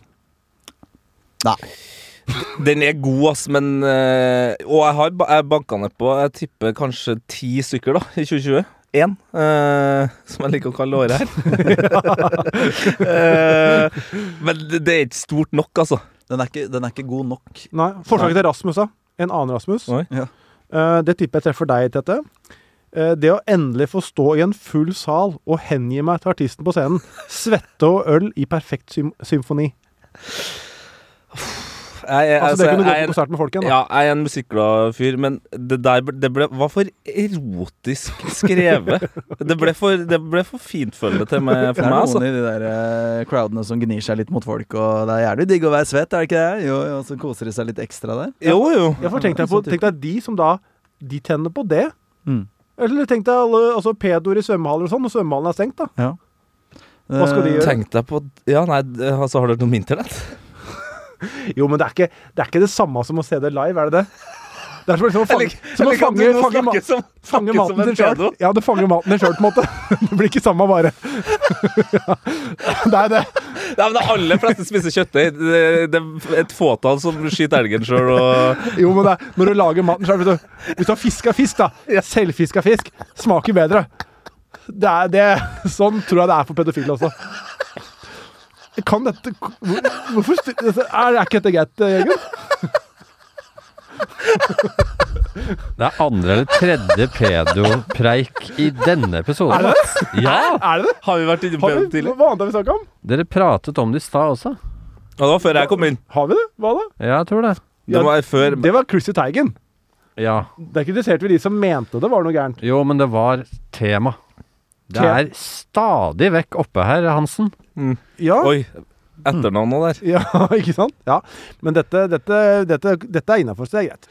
F: Den er god, ass, men eh, Og jeg har ba- jeg banka ned på Jeg tipper kanskje ti stykker da i 2020. Én, eh, som jeg liker å kalle året her. Eh, men det, det er ikke stort nok, altså.
B: Den er ikke, den er ikke god nok.
C: Nei, Forslaget til Rasmus, da. En annen Rasmus.
F: Oi.
B: Ja.
C: Eh, det tipper jeg treffer deg, Tete. Eh, det å endelig få stå i en full sal og hengi meg til artisten på scenen. Svette og øl i perfekt sym symfoni.
F: Jeg, jeg,
C: Altså, det kunne gå
F: altså, jeg,
C: på
F: jeg,
C: konsert med folk igjen. da.
F: ja, jeg er en musikkglad fyr, men det der ble- det ble, var for erotisk skrevet. Det ble for, det ble for fintfølende til meg,
B: Det
F: for
B: er
F: meg,
B: noen
F: altså.
B: i de der eh, crowdene som gnir seg litt mot folk, og det er jævlig digg å være svett, er det ikke det? Jo, jo, så koser de seg litt ekstra der.
F: Jo, jo.
C: Ja, for tenk deg, på,
B: Sånn type.
C: tenk deg de som da De tjener på det.
B: Mm.
C: Eller tenk deg alle altså pedoer i svømmehaller og sånn, og svømmehallen er stengt, da.
B: Ja. Eh,
C: Hva skal de gjøre?
F: Tenk deg på Ja, nei, altså, har du hørt om internett?
C: Jo, men det er, ikke, det er ikke det samme som å se det live, er det det? Det er som, liksom, å fange- som å
F: Eller kan du
C: fange,
F: nå
C: fange, ma
F: snakke som,
C: fange
F: snakke som
C: maten
F: en
C: din sjøl.
F: pedo?
C: Ja, du fanger maten din sjøl, på en måte. Det blir ikke samme vare. Ja, det er det.
F: Nei, men De aller fleste spiser kjøttdeig. Det, det er et fåtall som skyter elgen sjøl. Og...
C: Jo, men det er, når du lager maten sjøl Hvis du har fiska fisk, da. Selvfiska fisk. Smaker bedre. Det er det, sånn tror jeg det er for pedofile også. Kan dette hvor- Hvorfor styr- Er, er ikke dette greit, eh, Jørgen?
G: Det er andre eller tredje pedopreik i denne episoden.
C: Er det
G: Ja!
C: Er det det?
F: Har vi vært inne på
C: Har
F: det
C: vi,
F: tidligere?
C: hva annet har vi snakka om?
G: Dere pratet om det i stad også.
F: Ja, det var før jeg kom inn.
C: Har vi det? Hva da?
G: Ja, jeg tror det.
F: Det var før
C: Det var Chrissy Teigen.
G: Ja.
C: Der kritiserte vi de som mente det var noe gærent.
G: Jo, men det var tema. Det
C: Te-
G: er stadig vekk oppe her, Hansen.
C: Ja,
F: Oi. Etternavnet der.
C: ja ikke sant? Ja. Men dette, dette, dette, dette er innafor, så det er greit.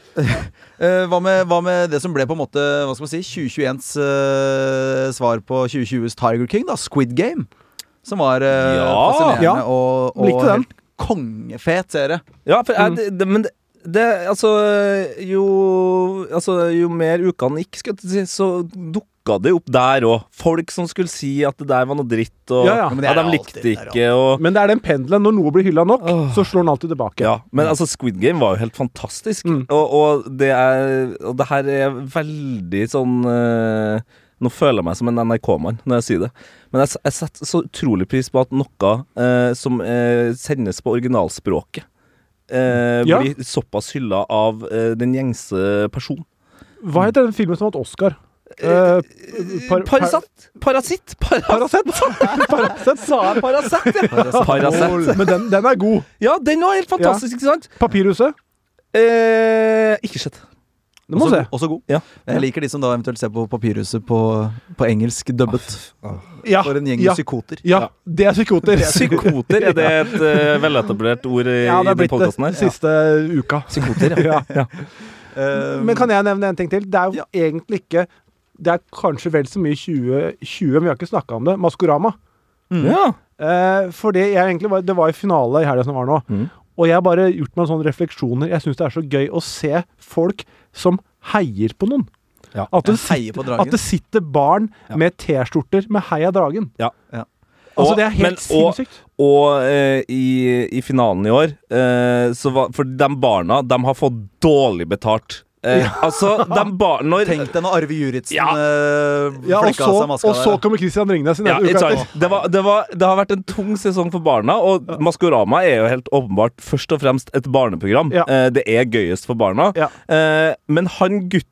B: Eh, hva, med, hva med det som ble på en måte Hva skal man si 2021s eh, svar på 2020s Tiger King, da? Squid Game. Som var eh,
F: Ja.
B: fascinerende
C: Ja.
B: og, og
C: Likte den.
B: helt kongefet serie.
F: Ja, for
C: Mm.
F: jeg, det, det, men det, det Altså, jo Altså, jo mer ukene gikk, skal jeg til å si, så dukka det opp der òg. Folk som skulle si at det der var noe dritt, og
C: Ja, ja.
F: ja,
B: Men det er
F: de
B: alltid
F: likte
B: det der, altså.
F: ikke, og
C: Men det er den pendelen. Når noe blir hylla nok,
F: Åh.
C: så slår den alltid tilbake.
F: ja, Men altså, Squid Game var jo helt fantastisk,
C: Mm.
F: og, og det er Og det her er veldig sånn eh, Nå føler jeg meg som en NRK-mann når jeg sier det, men jeg, s- jeg setter så utrolig pris på at noe eh, som eh, sendes på originalspråket, eh,
C: Ja.
F: blir såpass hylla av eh, den gjengse person.
C: Hva heter den filmen som har hatt Oscar? Eh, par-
F: Parasett? Parasitt? Parasett?
C: par- Parasett?
F: Sa jeg Parasett, ja? Parasett.
C: Men den, den er god.
F: Ja, den var helt fantastisk, ikke sant?
C: Papirhuset.
F: Eh, ikke sett.
C: Det må du se.
B: Også- Også god.
F: Ja.
B: Jeg liker de som da eventuelt ser på Papirhuset på, på engelsk dubbet.
F: Ah,
C: Ja,
B: For en gjeng
C: ja,
B: med psykoter.
C: ja, det er psykoter.
F: Psykoter, er det et eh, veletablert ord i,
C: Ja, det
F: i
C: er
F: den
C: blitt det
F: podkasten her?
C: siste uka.
F: Psykoter,
C: Ja.
B: Eh,
C: Men kan jeg nevne en ting til? Det er jo
B: Ja.
C: egentlig ikke Det er kanskje vel så mye 2020, men vi har ikke snakka om det. Maskorama. Mm.
F: ja.
C: Eh, for det, jeg egentlig var, det var i finale i helga som var nå.
F: Mm.
C: Og jeg har bare gjort meg sånne refleksjoner. Jeg syns det er så gøy å se folk som heier på noen.
F: Ja.
C: At, det
B: Jeg heier
C: sitter,
B: på dragen.
C: at det sitter barn
F: Ja.
C: med T-skjorter med 'Heia dragen'.
F: Ja.
B: Ja.
C: Altså,
F: Og-
C: det er helt
F: men- og-
C: sinnssykt.
F: Og eh, i, i finalen i år eh, så var, For de barna, de har fått dårlig betalt. Eh, Altså, de barna når-
B: Tenk deg når Arve Juritzen
F: Ja.
B: eh,
C: Ja, og
B: flekka
C: så,
B: av seg maska
C: og så
B: der.
C: kommer Christian Ringnes i
F: Ja,
C: neste uke
F: it's
C: etter.
F: alright. det, var, det, var, det har vært en tung sesong for barna, og Maskorama er jo helt åpenbart først og fremst et barneprogram.
C: Ja.
F: Eh, det er gøyest for barna.
C: Ja.
F: Eh, men han gutten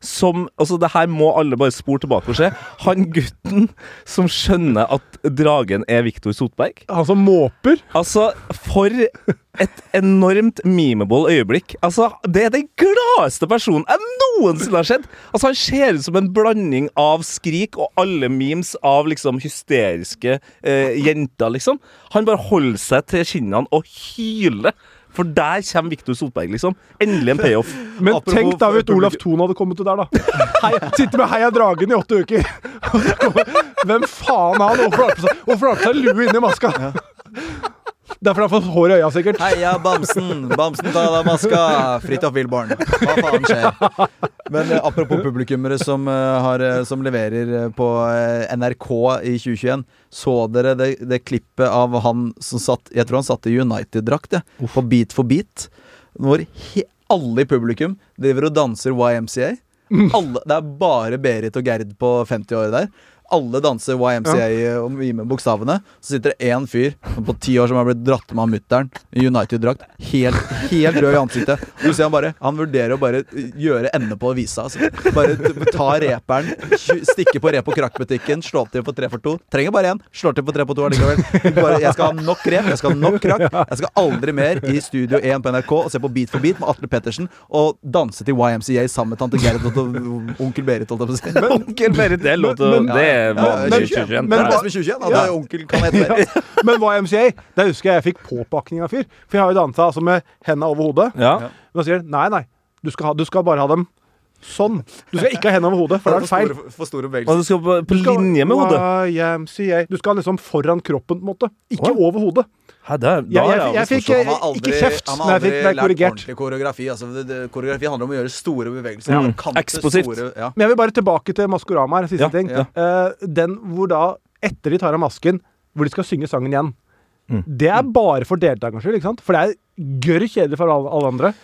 F: som Altså, det her må alle bare spore tilbake og se. Han gutten som skjønner at dragen er Viktor Sotberg.
C: Han som måper.
F: Altså, for et enormt memeable øyeblikk. Altså, Det er den gladeste personen jeg noensinne har sett! Altså, Han ser ut som en blanding av skrik og alle memes av liksom hysteriske eh, jenter, liksom. Han bare holder seg til kinnene og hyler. For der kommer Viktor Solberg, liksom. Endelig en payoff.
C: Men
B: Apropos-
C: tenk da hvis Olaf Thon hadde kommet ut der, da. Hei, sitter med Heia Dragen i åtte uker. Hvem faen er han? Hvorfor har han på seg- hvorfor har han på seg lue inni maska? Derfor har han fått hår i øya, sikkert.
B: Heia Bamsen! Bamsen tar av deg maska! Fridtjof Wilborn. Hva faen skjer? Men eh, apropos publikummere som, eh, har, eh, som leverer eh, på eh, NRK i 2021. Så dere det, det klippet av han som satt Jeg tror han satt i United-drakt, jeg. På Beat for beat. Hvor he, alle i publikum driver og danser YMCA. Alle, det er bare Berit og Gerd på 50-året der. Alle danser YMCA og mye med bokstavene. Så sitter det én fyr som på ti år som har blitt dratt med av mutter'n i United-drakt. Helt, helt rød i ansiktet. Du ser han bare Han vurderer å bare eh, gjøre ende på visa. Altså. Bare t- ta reperen, tju- stikke på rep- og krakkbutikken, slå til for tre for to. Trenger bare én. Slår til på tre på to allikevel. Bare, jeg skal ha nok rep, jeg skal ha nok krakk. Jeg skal aldri mer i Studio 1 på NRK og se på Beat for beat med Atle Pettersen og danse til YMCA sammen med tante Gerd og onkel Berit, holdt jeg på å si.
F: Onkel Berit, det er lov til å
C: men-
F: Det er vanlig.
C: men-
F: 2021.
C: men-
B: Det er det som er 2021, at
C: Ja.
B: det er onkel kan hete Berit.
C: Ja. Men YMCA, der husker jeg jeg fikk påpakning av fyr. For jeg har jo dansa altså, med henda over hodet.
F: ja.
C: Men han sier nei, nei, du skal, ha, du skal bare ha dem sånn. Du skal ikke ha henda over hodet, for det er feil.
B: For store
F: Og du
B: bevegelser.
F: skal på, på linje med hodet.
C: YMCA. Du skal ha liksom foran kroppen, på en måte. Ikke
F: Å.
C: over hodet.
F: Hæ, da, da
C: Ja,
F: har
C: jeg-
F: jeg,
C: jeg
F: aldri
C: fikk-
B: Han
F: forstått.
B: har aldri,
C: Ikke kjeft,
B: han har
C: men jeg
B: aldri
C: fikk- ble
B: lært
C: korrigert.
B: ordentlig koreografi. Altså, det, det, koreografi handler om å gjøre store bevegelser.
F: Ja.
B: markante,
F: Eksplosivt.
B: Store, ja.
C: Men jeg vil bare tilbake til Maskorama her, siste
F: Ja,
C: ting.
F: ja.
C: Eh, den hvor da, etter de tar av masken, hvor de skal synge sangen igjen.
F: Mm.
C: Det er bare for deltakernes skyld, ikke sant? For det er gørr kjedelig for alle, alle andre.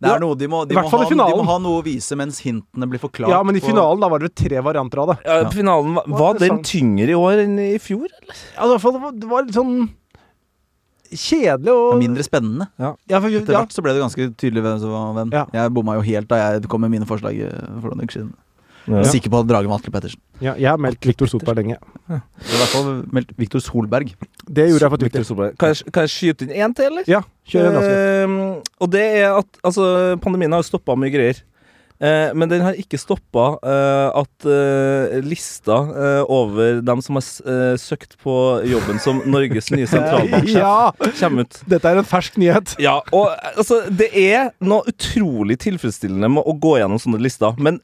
B: Det
C: Ja.
B: er noe de må, de,
C: I hvert
B: må
C: fall
B: ha,
C: i
B: de
C: finalen.
B: må ha noe å vise mens hintene blir forklart.
C: Ja, men i
B: på-
C: finalen da var det tre varianter av det.
F: Ja, finalen, var, var den tyngre i år enn i fjor? eller?
C: Ja, Altså, i hvert fall, det var- det var litt sånn kjedelig
B: Det er
C: og
B: Mindre spennende.
C: ja, for,
B: Etter
C: ja,
B: hvert så ble det ganske tydelig hvem som var hvem.
C: Ja.
B: Jeg bomma jo helt da jeg kom med mine forslag eh, for noen uker siden.
F: Ja.
B: Jeg er sikker på at Drage med Atle Pettersen.
C: ja, jeg har meldt Victor Sotberg lenge.
B: Det var I hvert fall meldt Victor Solberg.
C: Det gjorde jeg på Twitter.
F: Victor Solberg. Kan jeg, kan jeg skyte inn én til, eller?
C: Ja, kjør en ganske.
F: Eh, og det er at altså, pandemien har jo stoppa mye greier. Eh, men den har ikke stoppa eh, at eh, lista eh, over dem som har s- eh, søkt på jobben som Norges nye sentralbanksjef,
C: Ja!
F: kommer ut.
C: Dette er en fersk nyhet.
F: Ja, og eh, altså, det er noe utrolig tilfredsstillende med å gå gjennom sånne lister, men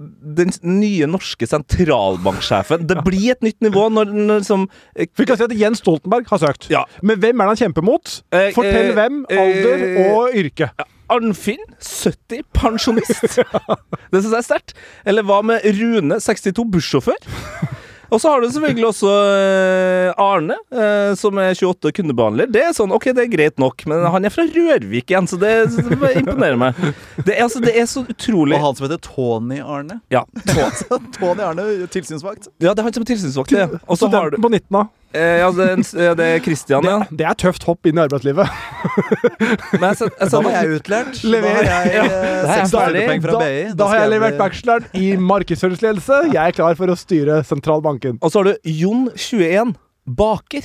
F: den s- nye norske sentralbanksjefen Det blir et nytt nivå når, når liksom, eh,
C: Vi kan si at Jens Stoltenberg har søkt.
F: Ja.
C: Men hvem er det han kjemper mot?
F: Eh,
C: Fortell
F: eh,
C: hvem, alder
F: eh,
C: og yrke.
F: Arnfinn, 70, pensjonist. Det syns jeg er sterkt. Eller hva med Rune, 62, bussjåfør? Og så har du selvfølgelig også eh, Arne, eh, som er 28 og kundebehandler. Det er sånn, ok, det er greit nok, men han er fra Rørvik igjen, så det, det imponerer meg. Det er, altså, det er så utrolig
B: Og han som heter Tony Arne.
F: ja, tå-
B: Tony Arne, tilsynsvakt.
F: ja, det er han som er tilsynsvakt, det. Og
C: Så
F: så har du
C: den på 19 da.
F: eh, Ja, det er, en s- ja, det er Christian, ja.
C: Det er tøft hopp inn i arbeidslivet.
F: Men jeg, send- jeg,
B: Da
F: sender-
B: var jeg utlært.
C: Lever.
B: Da har jeg
F: Da er
B: eh,
F: jeg
B: seks
F: ferdig.
B: ferdigpoeng fra
C: da,
B: BI.
C: da har
B: skal
C: jeg levert
B: bli-
C: bacheloren i markedsføringsledelse. Jeg er klar for å styre sentralbanken.
F: Og så har du Jon 21 baker.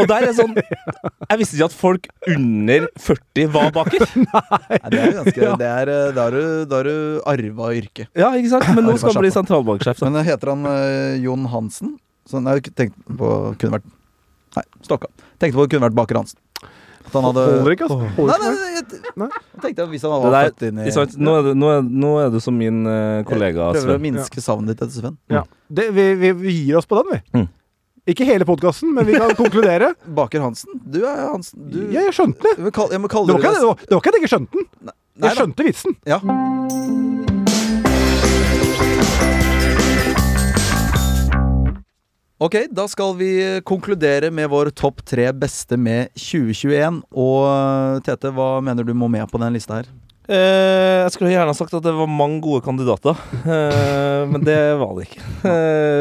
F: Og der er det sånn Jeg visste ikke at folk under 40 var baker.
B: Nei, det er jo ganske det er, eh, Da har du- da har du arva yrket.
F: Ja, ikke sant? Men nå skal han bli
B: Arva
F: sentralbanksjef. da.
B: Men eh, heter han eh, Jon Hansen? Så, nei, jeg tenkte på kunne vært Nei, Stokka. Tenkte på det kunne vært Baker Hansen. At han hadde
C: Holder ikke, altså.
B: Nei,
C: Holder
B: nei,
C: ikke.
B: nei, jeg,
C: Nei.
B: jeg tenkte at hvis han var
F: Det
B: født inn i
F: der, ikke sant? Nå, er det, nå, er, nå er du som min eh, kollega,
B: Jeg Prøver å
F: Sven.
B: minske savnet ditt etter Sven.
C: Ja. Det, vi, vi, vi gir oss på den, vi.
F: Mm.
C: Ikke hele podkasten, men vi kan konkludere.
B: Baker Hansen? Du er Hansen. Du,
C: Ja, jeg skjønte den.
B: Jeg vil kalle- jeg må
C: Det
B: kalle
C: var ikke
B: dere
C: det var- det var ikke at jeg ikke skjønte den.
B: Nei da.
C: Jeg skjønte vitsen.
B: Ja. Ok, da skal vi konkludere med vår topp tre beste med 2021. Og eh, Tete, hva mener du må med på den lista her?
F: Eh, jeg skulle gjerne ha sagt at det var mange gode kandidater, eh, men det var det ikke.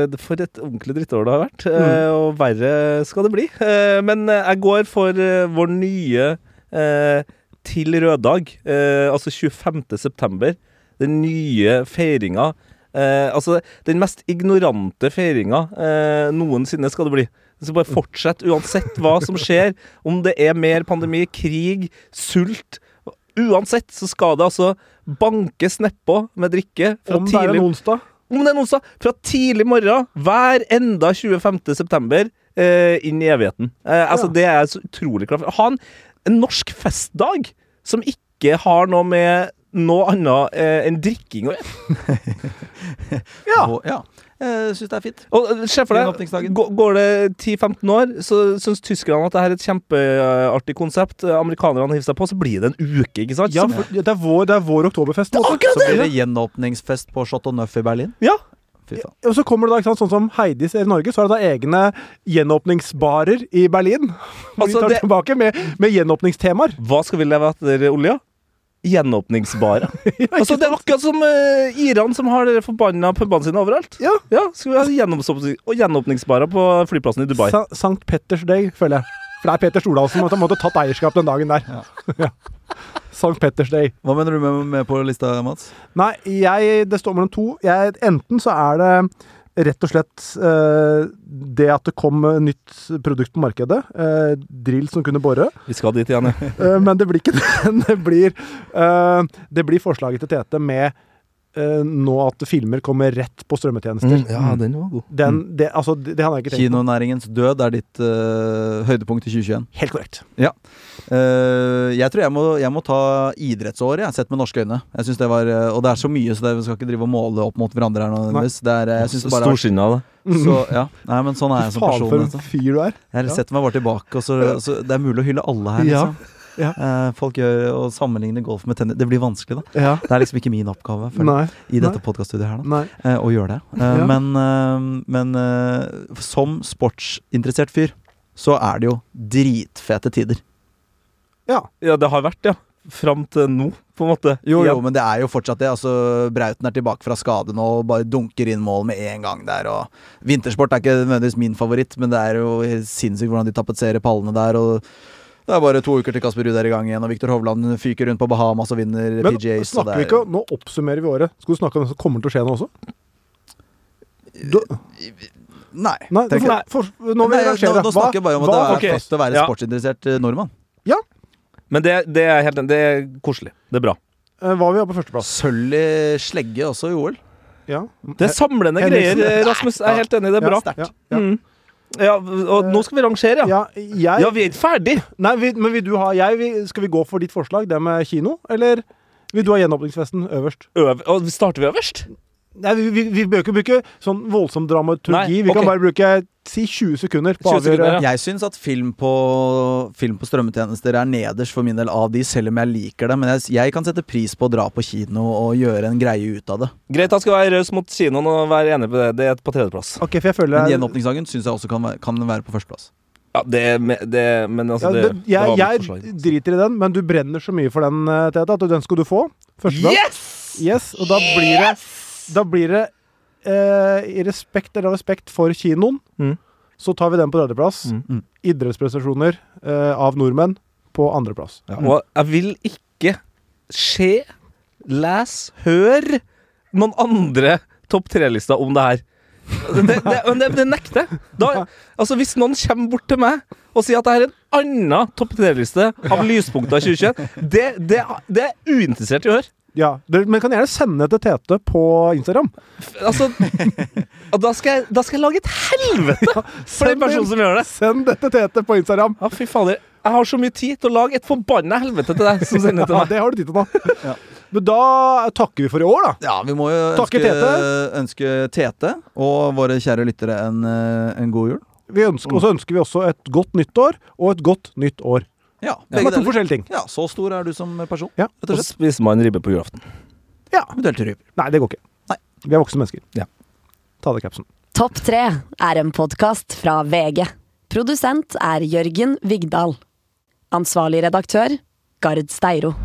F: Eh, for et ordentlig drittår det har vært, eh,
C: Mm.
F: og verre skal det bli. Eh, men eh, jeg går for eh, vår nye eh, Til røddag, eh, altså 25. september. Den nye feiringa. Eh, altså den mest ignorante feiringa eh, noensinne skal det bli. Så bare fortsett, uansett hva som skjer. Om det er mer pandemi, krig, sult Uansett så skal det altså bankes nedpå med drikke fra
C: Om det er
F: tidlig
C: en onsdag.
F: Om det er en onsdag! Fra tidlig morgen hver enda 25. september eh, inn i evigheten. Eh, altså, Det er jeg så utrolig klar for. Ha en, en norsk festdag som ikke har noe med noe annet eh, enn drikking å gjøre. Ja.
B: Og, ja. Jeg syns det er fint.
F: Og eh, Se for deg,
B: Gjenåpningsdagen.
F: gå- går det 10-15 år, så syns tyskerne at det her er et kjempeartig konsept. Eh, Amerikanerne hiver seg på, så blir det en uke, ikke sant?
C: Ja,
F: Som-
C: for, det, er vår, det er vår oktoberfest. på en måte.
B: Så blir det gjenåpningsfest på Chateau Neuf i Berlin.
F: ja.
B: Fy faen.
C: Og så kommer det da, ikke sant, sånn som Heidis i Norge, så er det da egne gjenåpningsbarer i Berlin. Og vi
F: Altså,
C: tar
F: det-
C: tilbake med, med gjenåpningstemaer.
F: Hva skal vi leve etter olja? Gjenåpningsbare. altså, det er akkurat som uh, Iran som har de forbanna pubene sine overalt.
C: Ja.
F: Skal vi ha gjennomsopp- og gjenåpningsbarer på flyplassen i Dubai?
C: Sa Sankt Petters Day, føler jeg. For det er Petter Stordal som har måtte tatt eierskap den dagen der. Ja. Sankt Petters Day.
B: Hva mener du med, med på lista, Mats?
C: Nei, jeg, det står mellom to. Jeg, enten så er det rett og slett eh, det at det kom eh, nytt produkt på markedet. Eh, drill som kunne bore.
F: Vi skal dit igjen, ja.
C: Eh, men det blir ikke den. Det blir, eh, det blir forslaget til Tete med eh, nå at filmer kommer rett på strømmetjenester.
F: Mm, ja, den var god.
C: Den,
B: Mm.
C: det, altså, det, det hadde jeg ikke tenkt på.
B: Kinonæringens død er ditt eh, høydepunkt i 2021.
C: Helt korrekt.
B: Eh, jeg tror jeg må, jeg må ta idrettsåret, jeg, sett med norske øyne. Jeg synes det var, eh, Og det er så mye, så det, vi skal ikke drive og måle opp mot hverandre her nå. nødvendigvis. Det er, eh, jeg synes det bare er,
F: Storsinna, da.
B: så, ja. Nei, men sånn er jeg som
C: Faen,
B: person.
C: for
B: altså.
C: en fyr du er.
B: Jeg
C: Ja.
B: setter meg bare tilbake. Og så, så det er mulig å hylle alle her.
C: Ja.
B: Liksom.
C: Ja.
B: Eh, folk gjør å sammenligne golf med tennis. Det blir vanskelig, da.
C: Ja.
B: Det er liksom ikke min oppgave føler jeg,
C: Nei.
B: i dette podcaststudiet her da,
C: Nei.
B: eh, å gjøre det. Eh,
C: Ja.
B: Men, eh, men eh, som sportsinteressert fyr, så er det jo dritfete tider.
C: Ja.
F: Ja, det har vært, ja. Fram til nå, på en måte.
B: Jo, jo,
F: Ja.
B: men det er jo fortsatt det. Altså, Brauten er tilbake fra skade nå og bare dunker inn mål med en gang der. Og vintersport er ikke nødvendigvis min favoritt, men det er jo helt sinnssykt hvordan de tapetserer pallene der. og det er bare to uker til Kasper Ruud er i gang igjen, og Viktor Hovland fyker rundt på Bahamas og vinner
C: Men
B: PGAs. så
C: snakker
B: det
C: vi ikke
B: er-
C: om Nå oppsummerer vi året. Skal du snakke om det som kommer til å skje nå også? Du,
B: Nei.
C: nei,
B: tenker
C: for,
B: jeg.
C: for, nå vil
B: Nei,
C: jeg
B: nå,
C: rangere.
B: nå snakker jeg bare om at
C: hva-
B: det er
F: ok.
B: fast å være
F: Ja.
B: sportsinteressert eh, nordmann.
F: Men det, det er helt Det er koselig. Det er bra.
C: eh, hva vi har på førsteplass.
B: Sølv i slegge også i OL.
C: Ja.
F: Det er samlende
C: Henriksen.
F: greier, Rasmus. Jeg er helt enig, det er
C: Ja,
F: bra.
C: sterkt.
F: Ja,
C: Ja, ja.
F: Mm. ja og nå skal vi rangere, ja.
C: Ja, jeg
F: Ja, vi er ikke ferdig!
C: Nei, vi, men vil du ha jeg, vi, Skal vi gå for ditt forslag, det med kino? Eller vil du ha gjenåpningsfesten øverst?
F: Øv, og starter vi øverst?
C: Nei, Vi, vi, vi bør ikke bruke sånn voldsom dramaturgi.
F: Nei,
C: Vi
F: ok.
C: kan bare bruke si 20 sekunder på å
F: 20 sekunder,
C: avgjøre.
F: Ja.
B: Jeg syns at film på, film på strømmetjenester er nederst for min del av de, selv om jeg liker det. Men jeg, jeg kan sette pris på å dra på kino og gjøre en greie ut av det.
F: Greit, da skal jeg være raus mot kinoen og være enig på det. Det er på tredjeplass.
C: Ok, for jeg føler
B: Men
C: jeg-
B: gjenåpningssangen syns jeg også kan, være- kan være på førsteplass.
F: Ja, det, er- det er- Men
C: ja,
F: altså, det,
C: det,
F: det var
C: jeg,
F: mitt forslag. liksom.
C: jeg driter i den, men du brenner så mye for den, eh, Tete, at den skal du få. Førsteplass.
F: Yes!
C: Yes, og da blir det, da blir det eh, i respekt eller av respekt for kinoen,
F: Mm.
C: så tar vi den på tredjeplass.
F: Mm.
B: Mm.
C: Idrettsprestasjoner eh, av nordmenn på andreplass.
F: Ja, og jeg vil ikke se, lese, høre noen andre topp tre-lister om det her. Det, det, men det, det nekter jeg. Da- Altså, hvis noen kommer bort til meg og sier at det er en annen topp tre-liste av lyspunkter i 2021, det, det, det er jeg uinteressert i å høre.
C: Ja, dere- Men kan gjerne sende det til Tete på Instagram.
F: Altså, og da, skal jeg, da skal jeg lage et helvete for den
C: Send
F: personen som gjør det.
C: Send det til Tete på Instagram!
F: Ja, fy fader. Jeg har så mye tid til å lage et forbanna helvete til deg som sender til
C: Ja,
F: meg.
C: det har du tid til nå. Men da takker vi for i år, da.
B: Ja, vi må jo
C: Takke
B: ønske
C: Tete.
B: ønske Tete og våre kjære lyttere en, eh, en god jul.
C: Vi ønsker, og så ønsker vi også et godt nytt år og et godt nytt år.
B: Ja,
C: Det
B: begge
C: er to
B: deler.
C: forskjellige ting.
B: Ja, så stor er du som person,
C: Ja.
B: rett og
F: Og
B: slett.
F: spiser man ribbe på julaften.
C: Ja.
B: Eventuelt rype.
C: Nei, det går ikke.
B: Nei.
C: Vi er voksne mennesker.
F: Ja.
C: Ta av deg capsen.
A: Topp tre er en podkast fra VG. Produsent er Jørgen Vigdal. Ansvarlig redaktør Gard Steiro.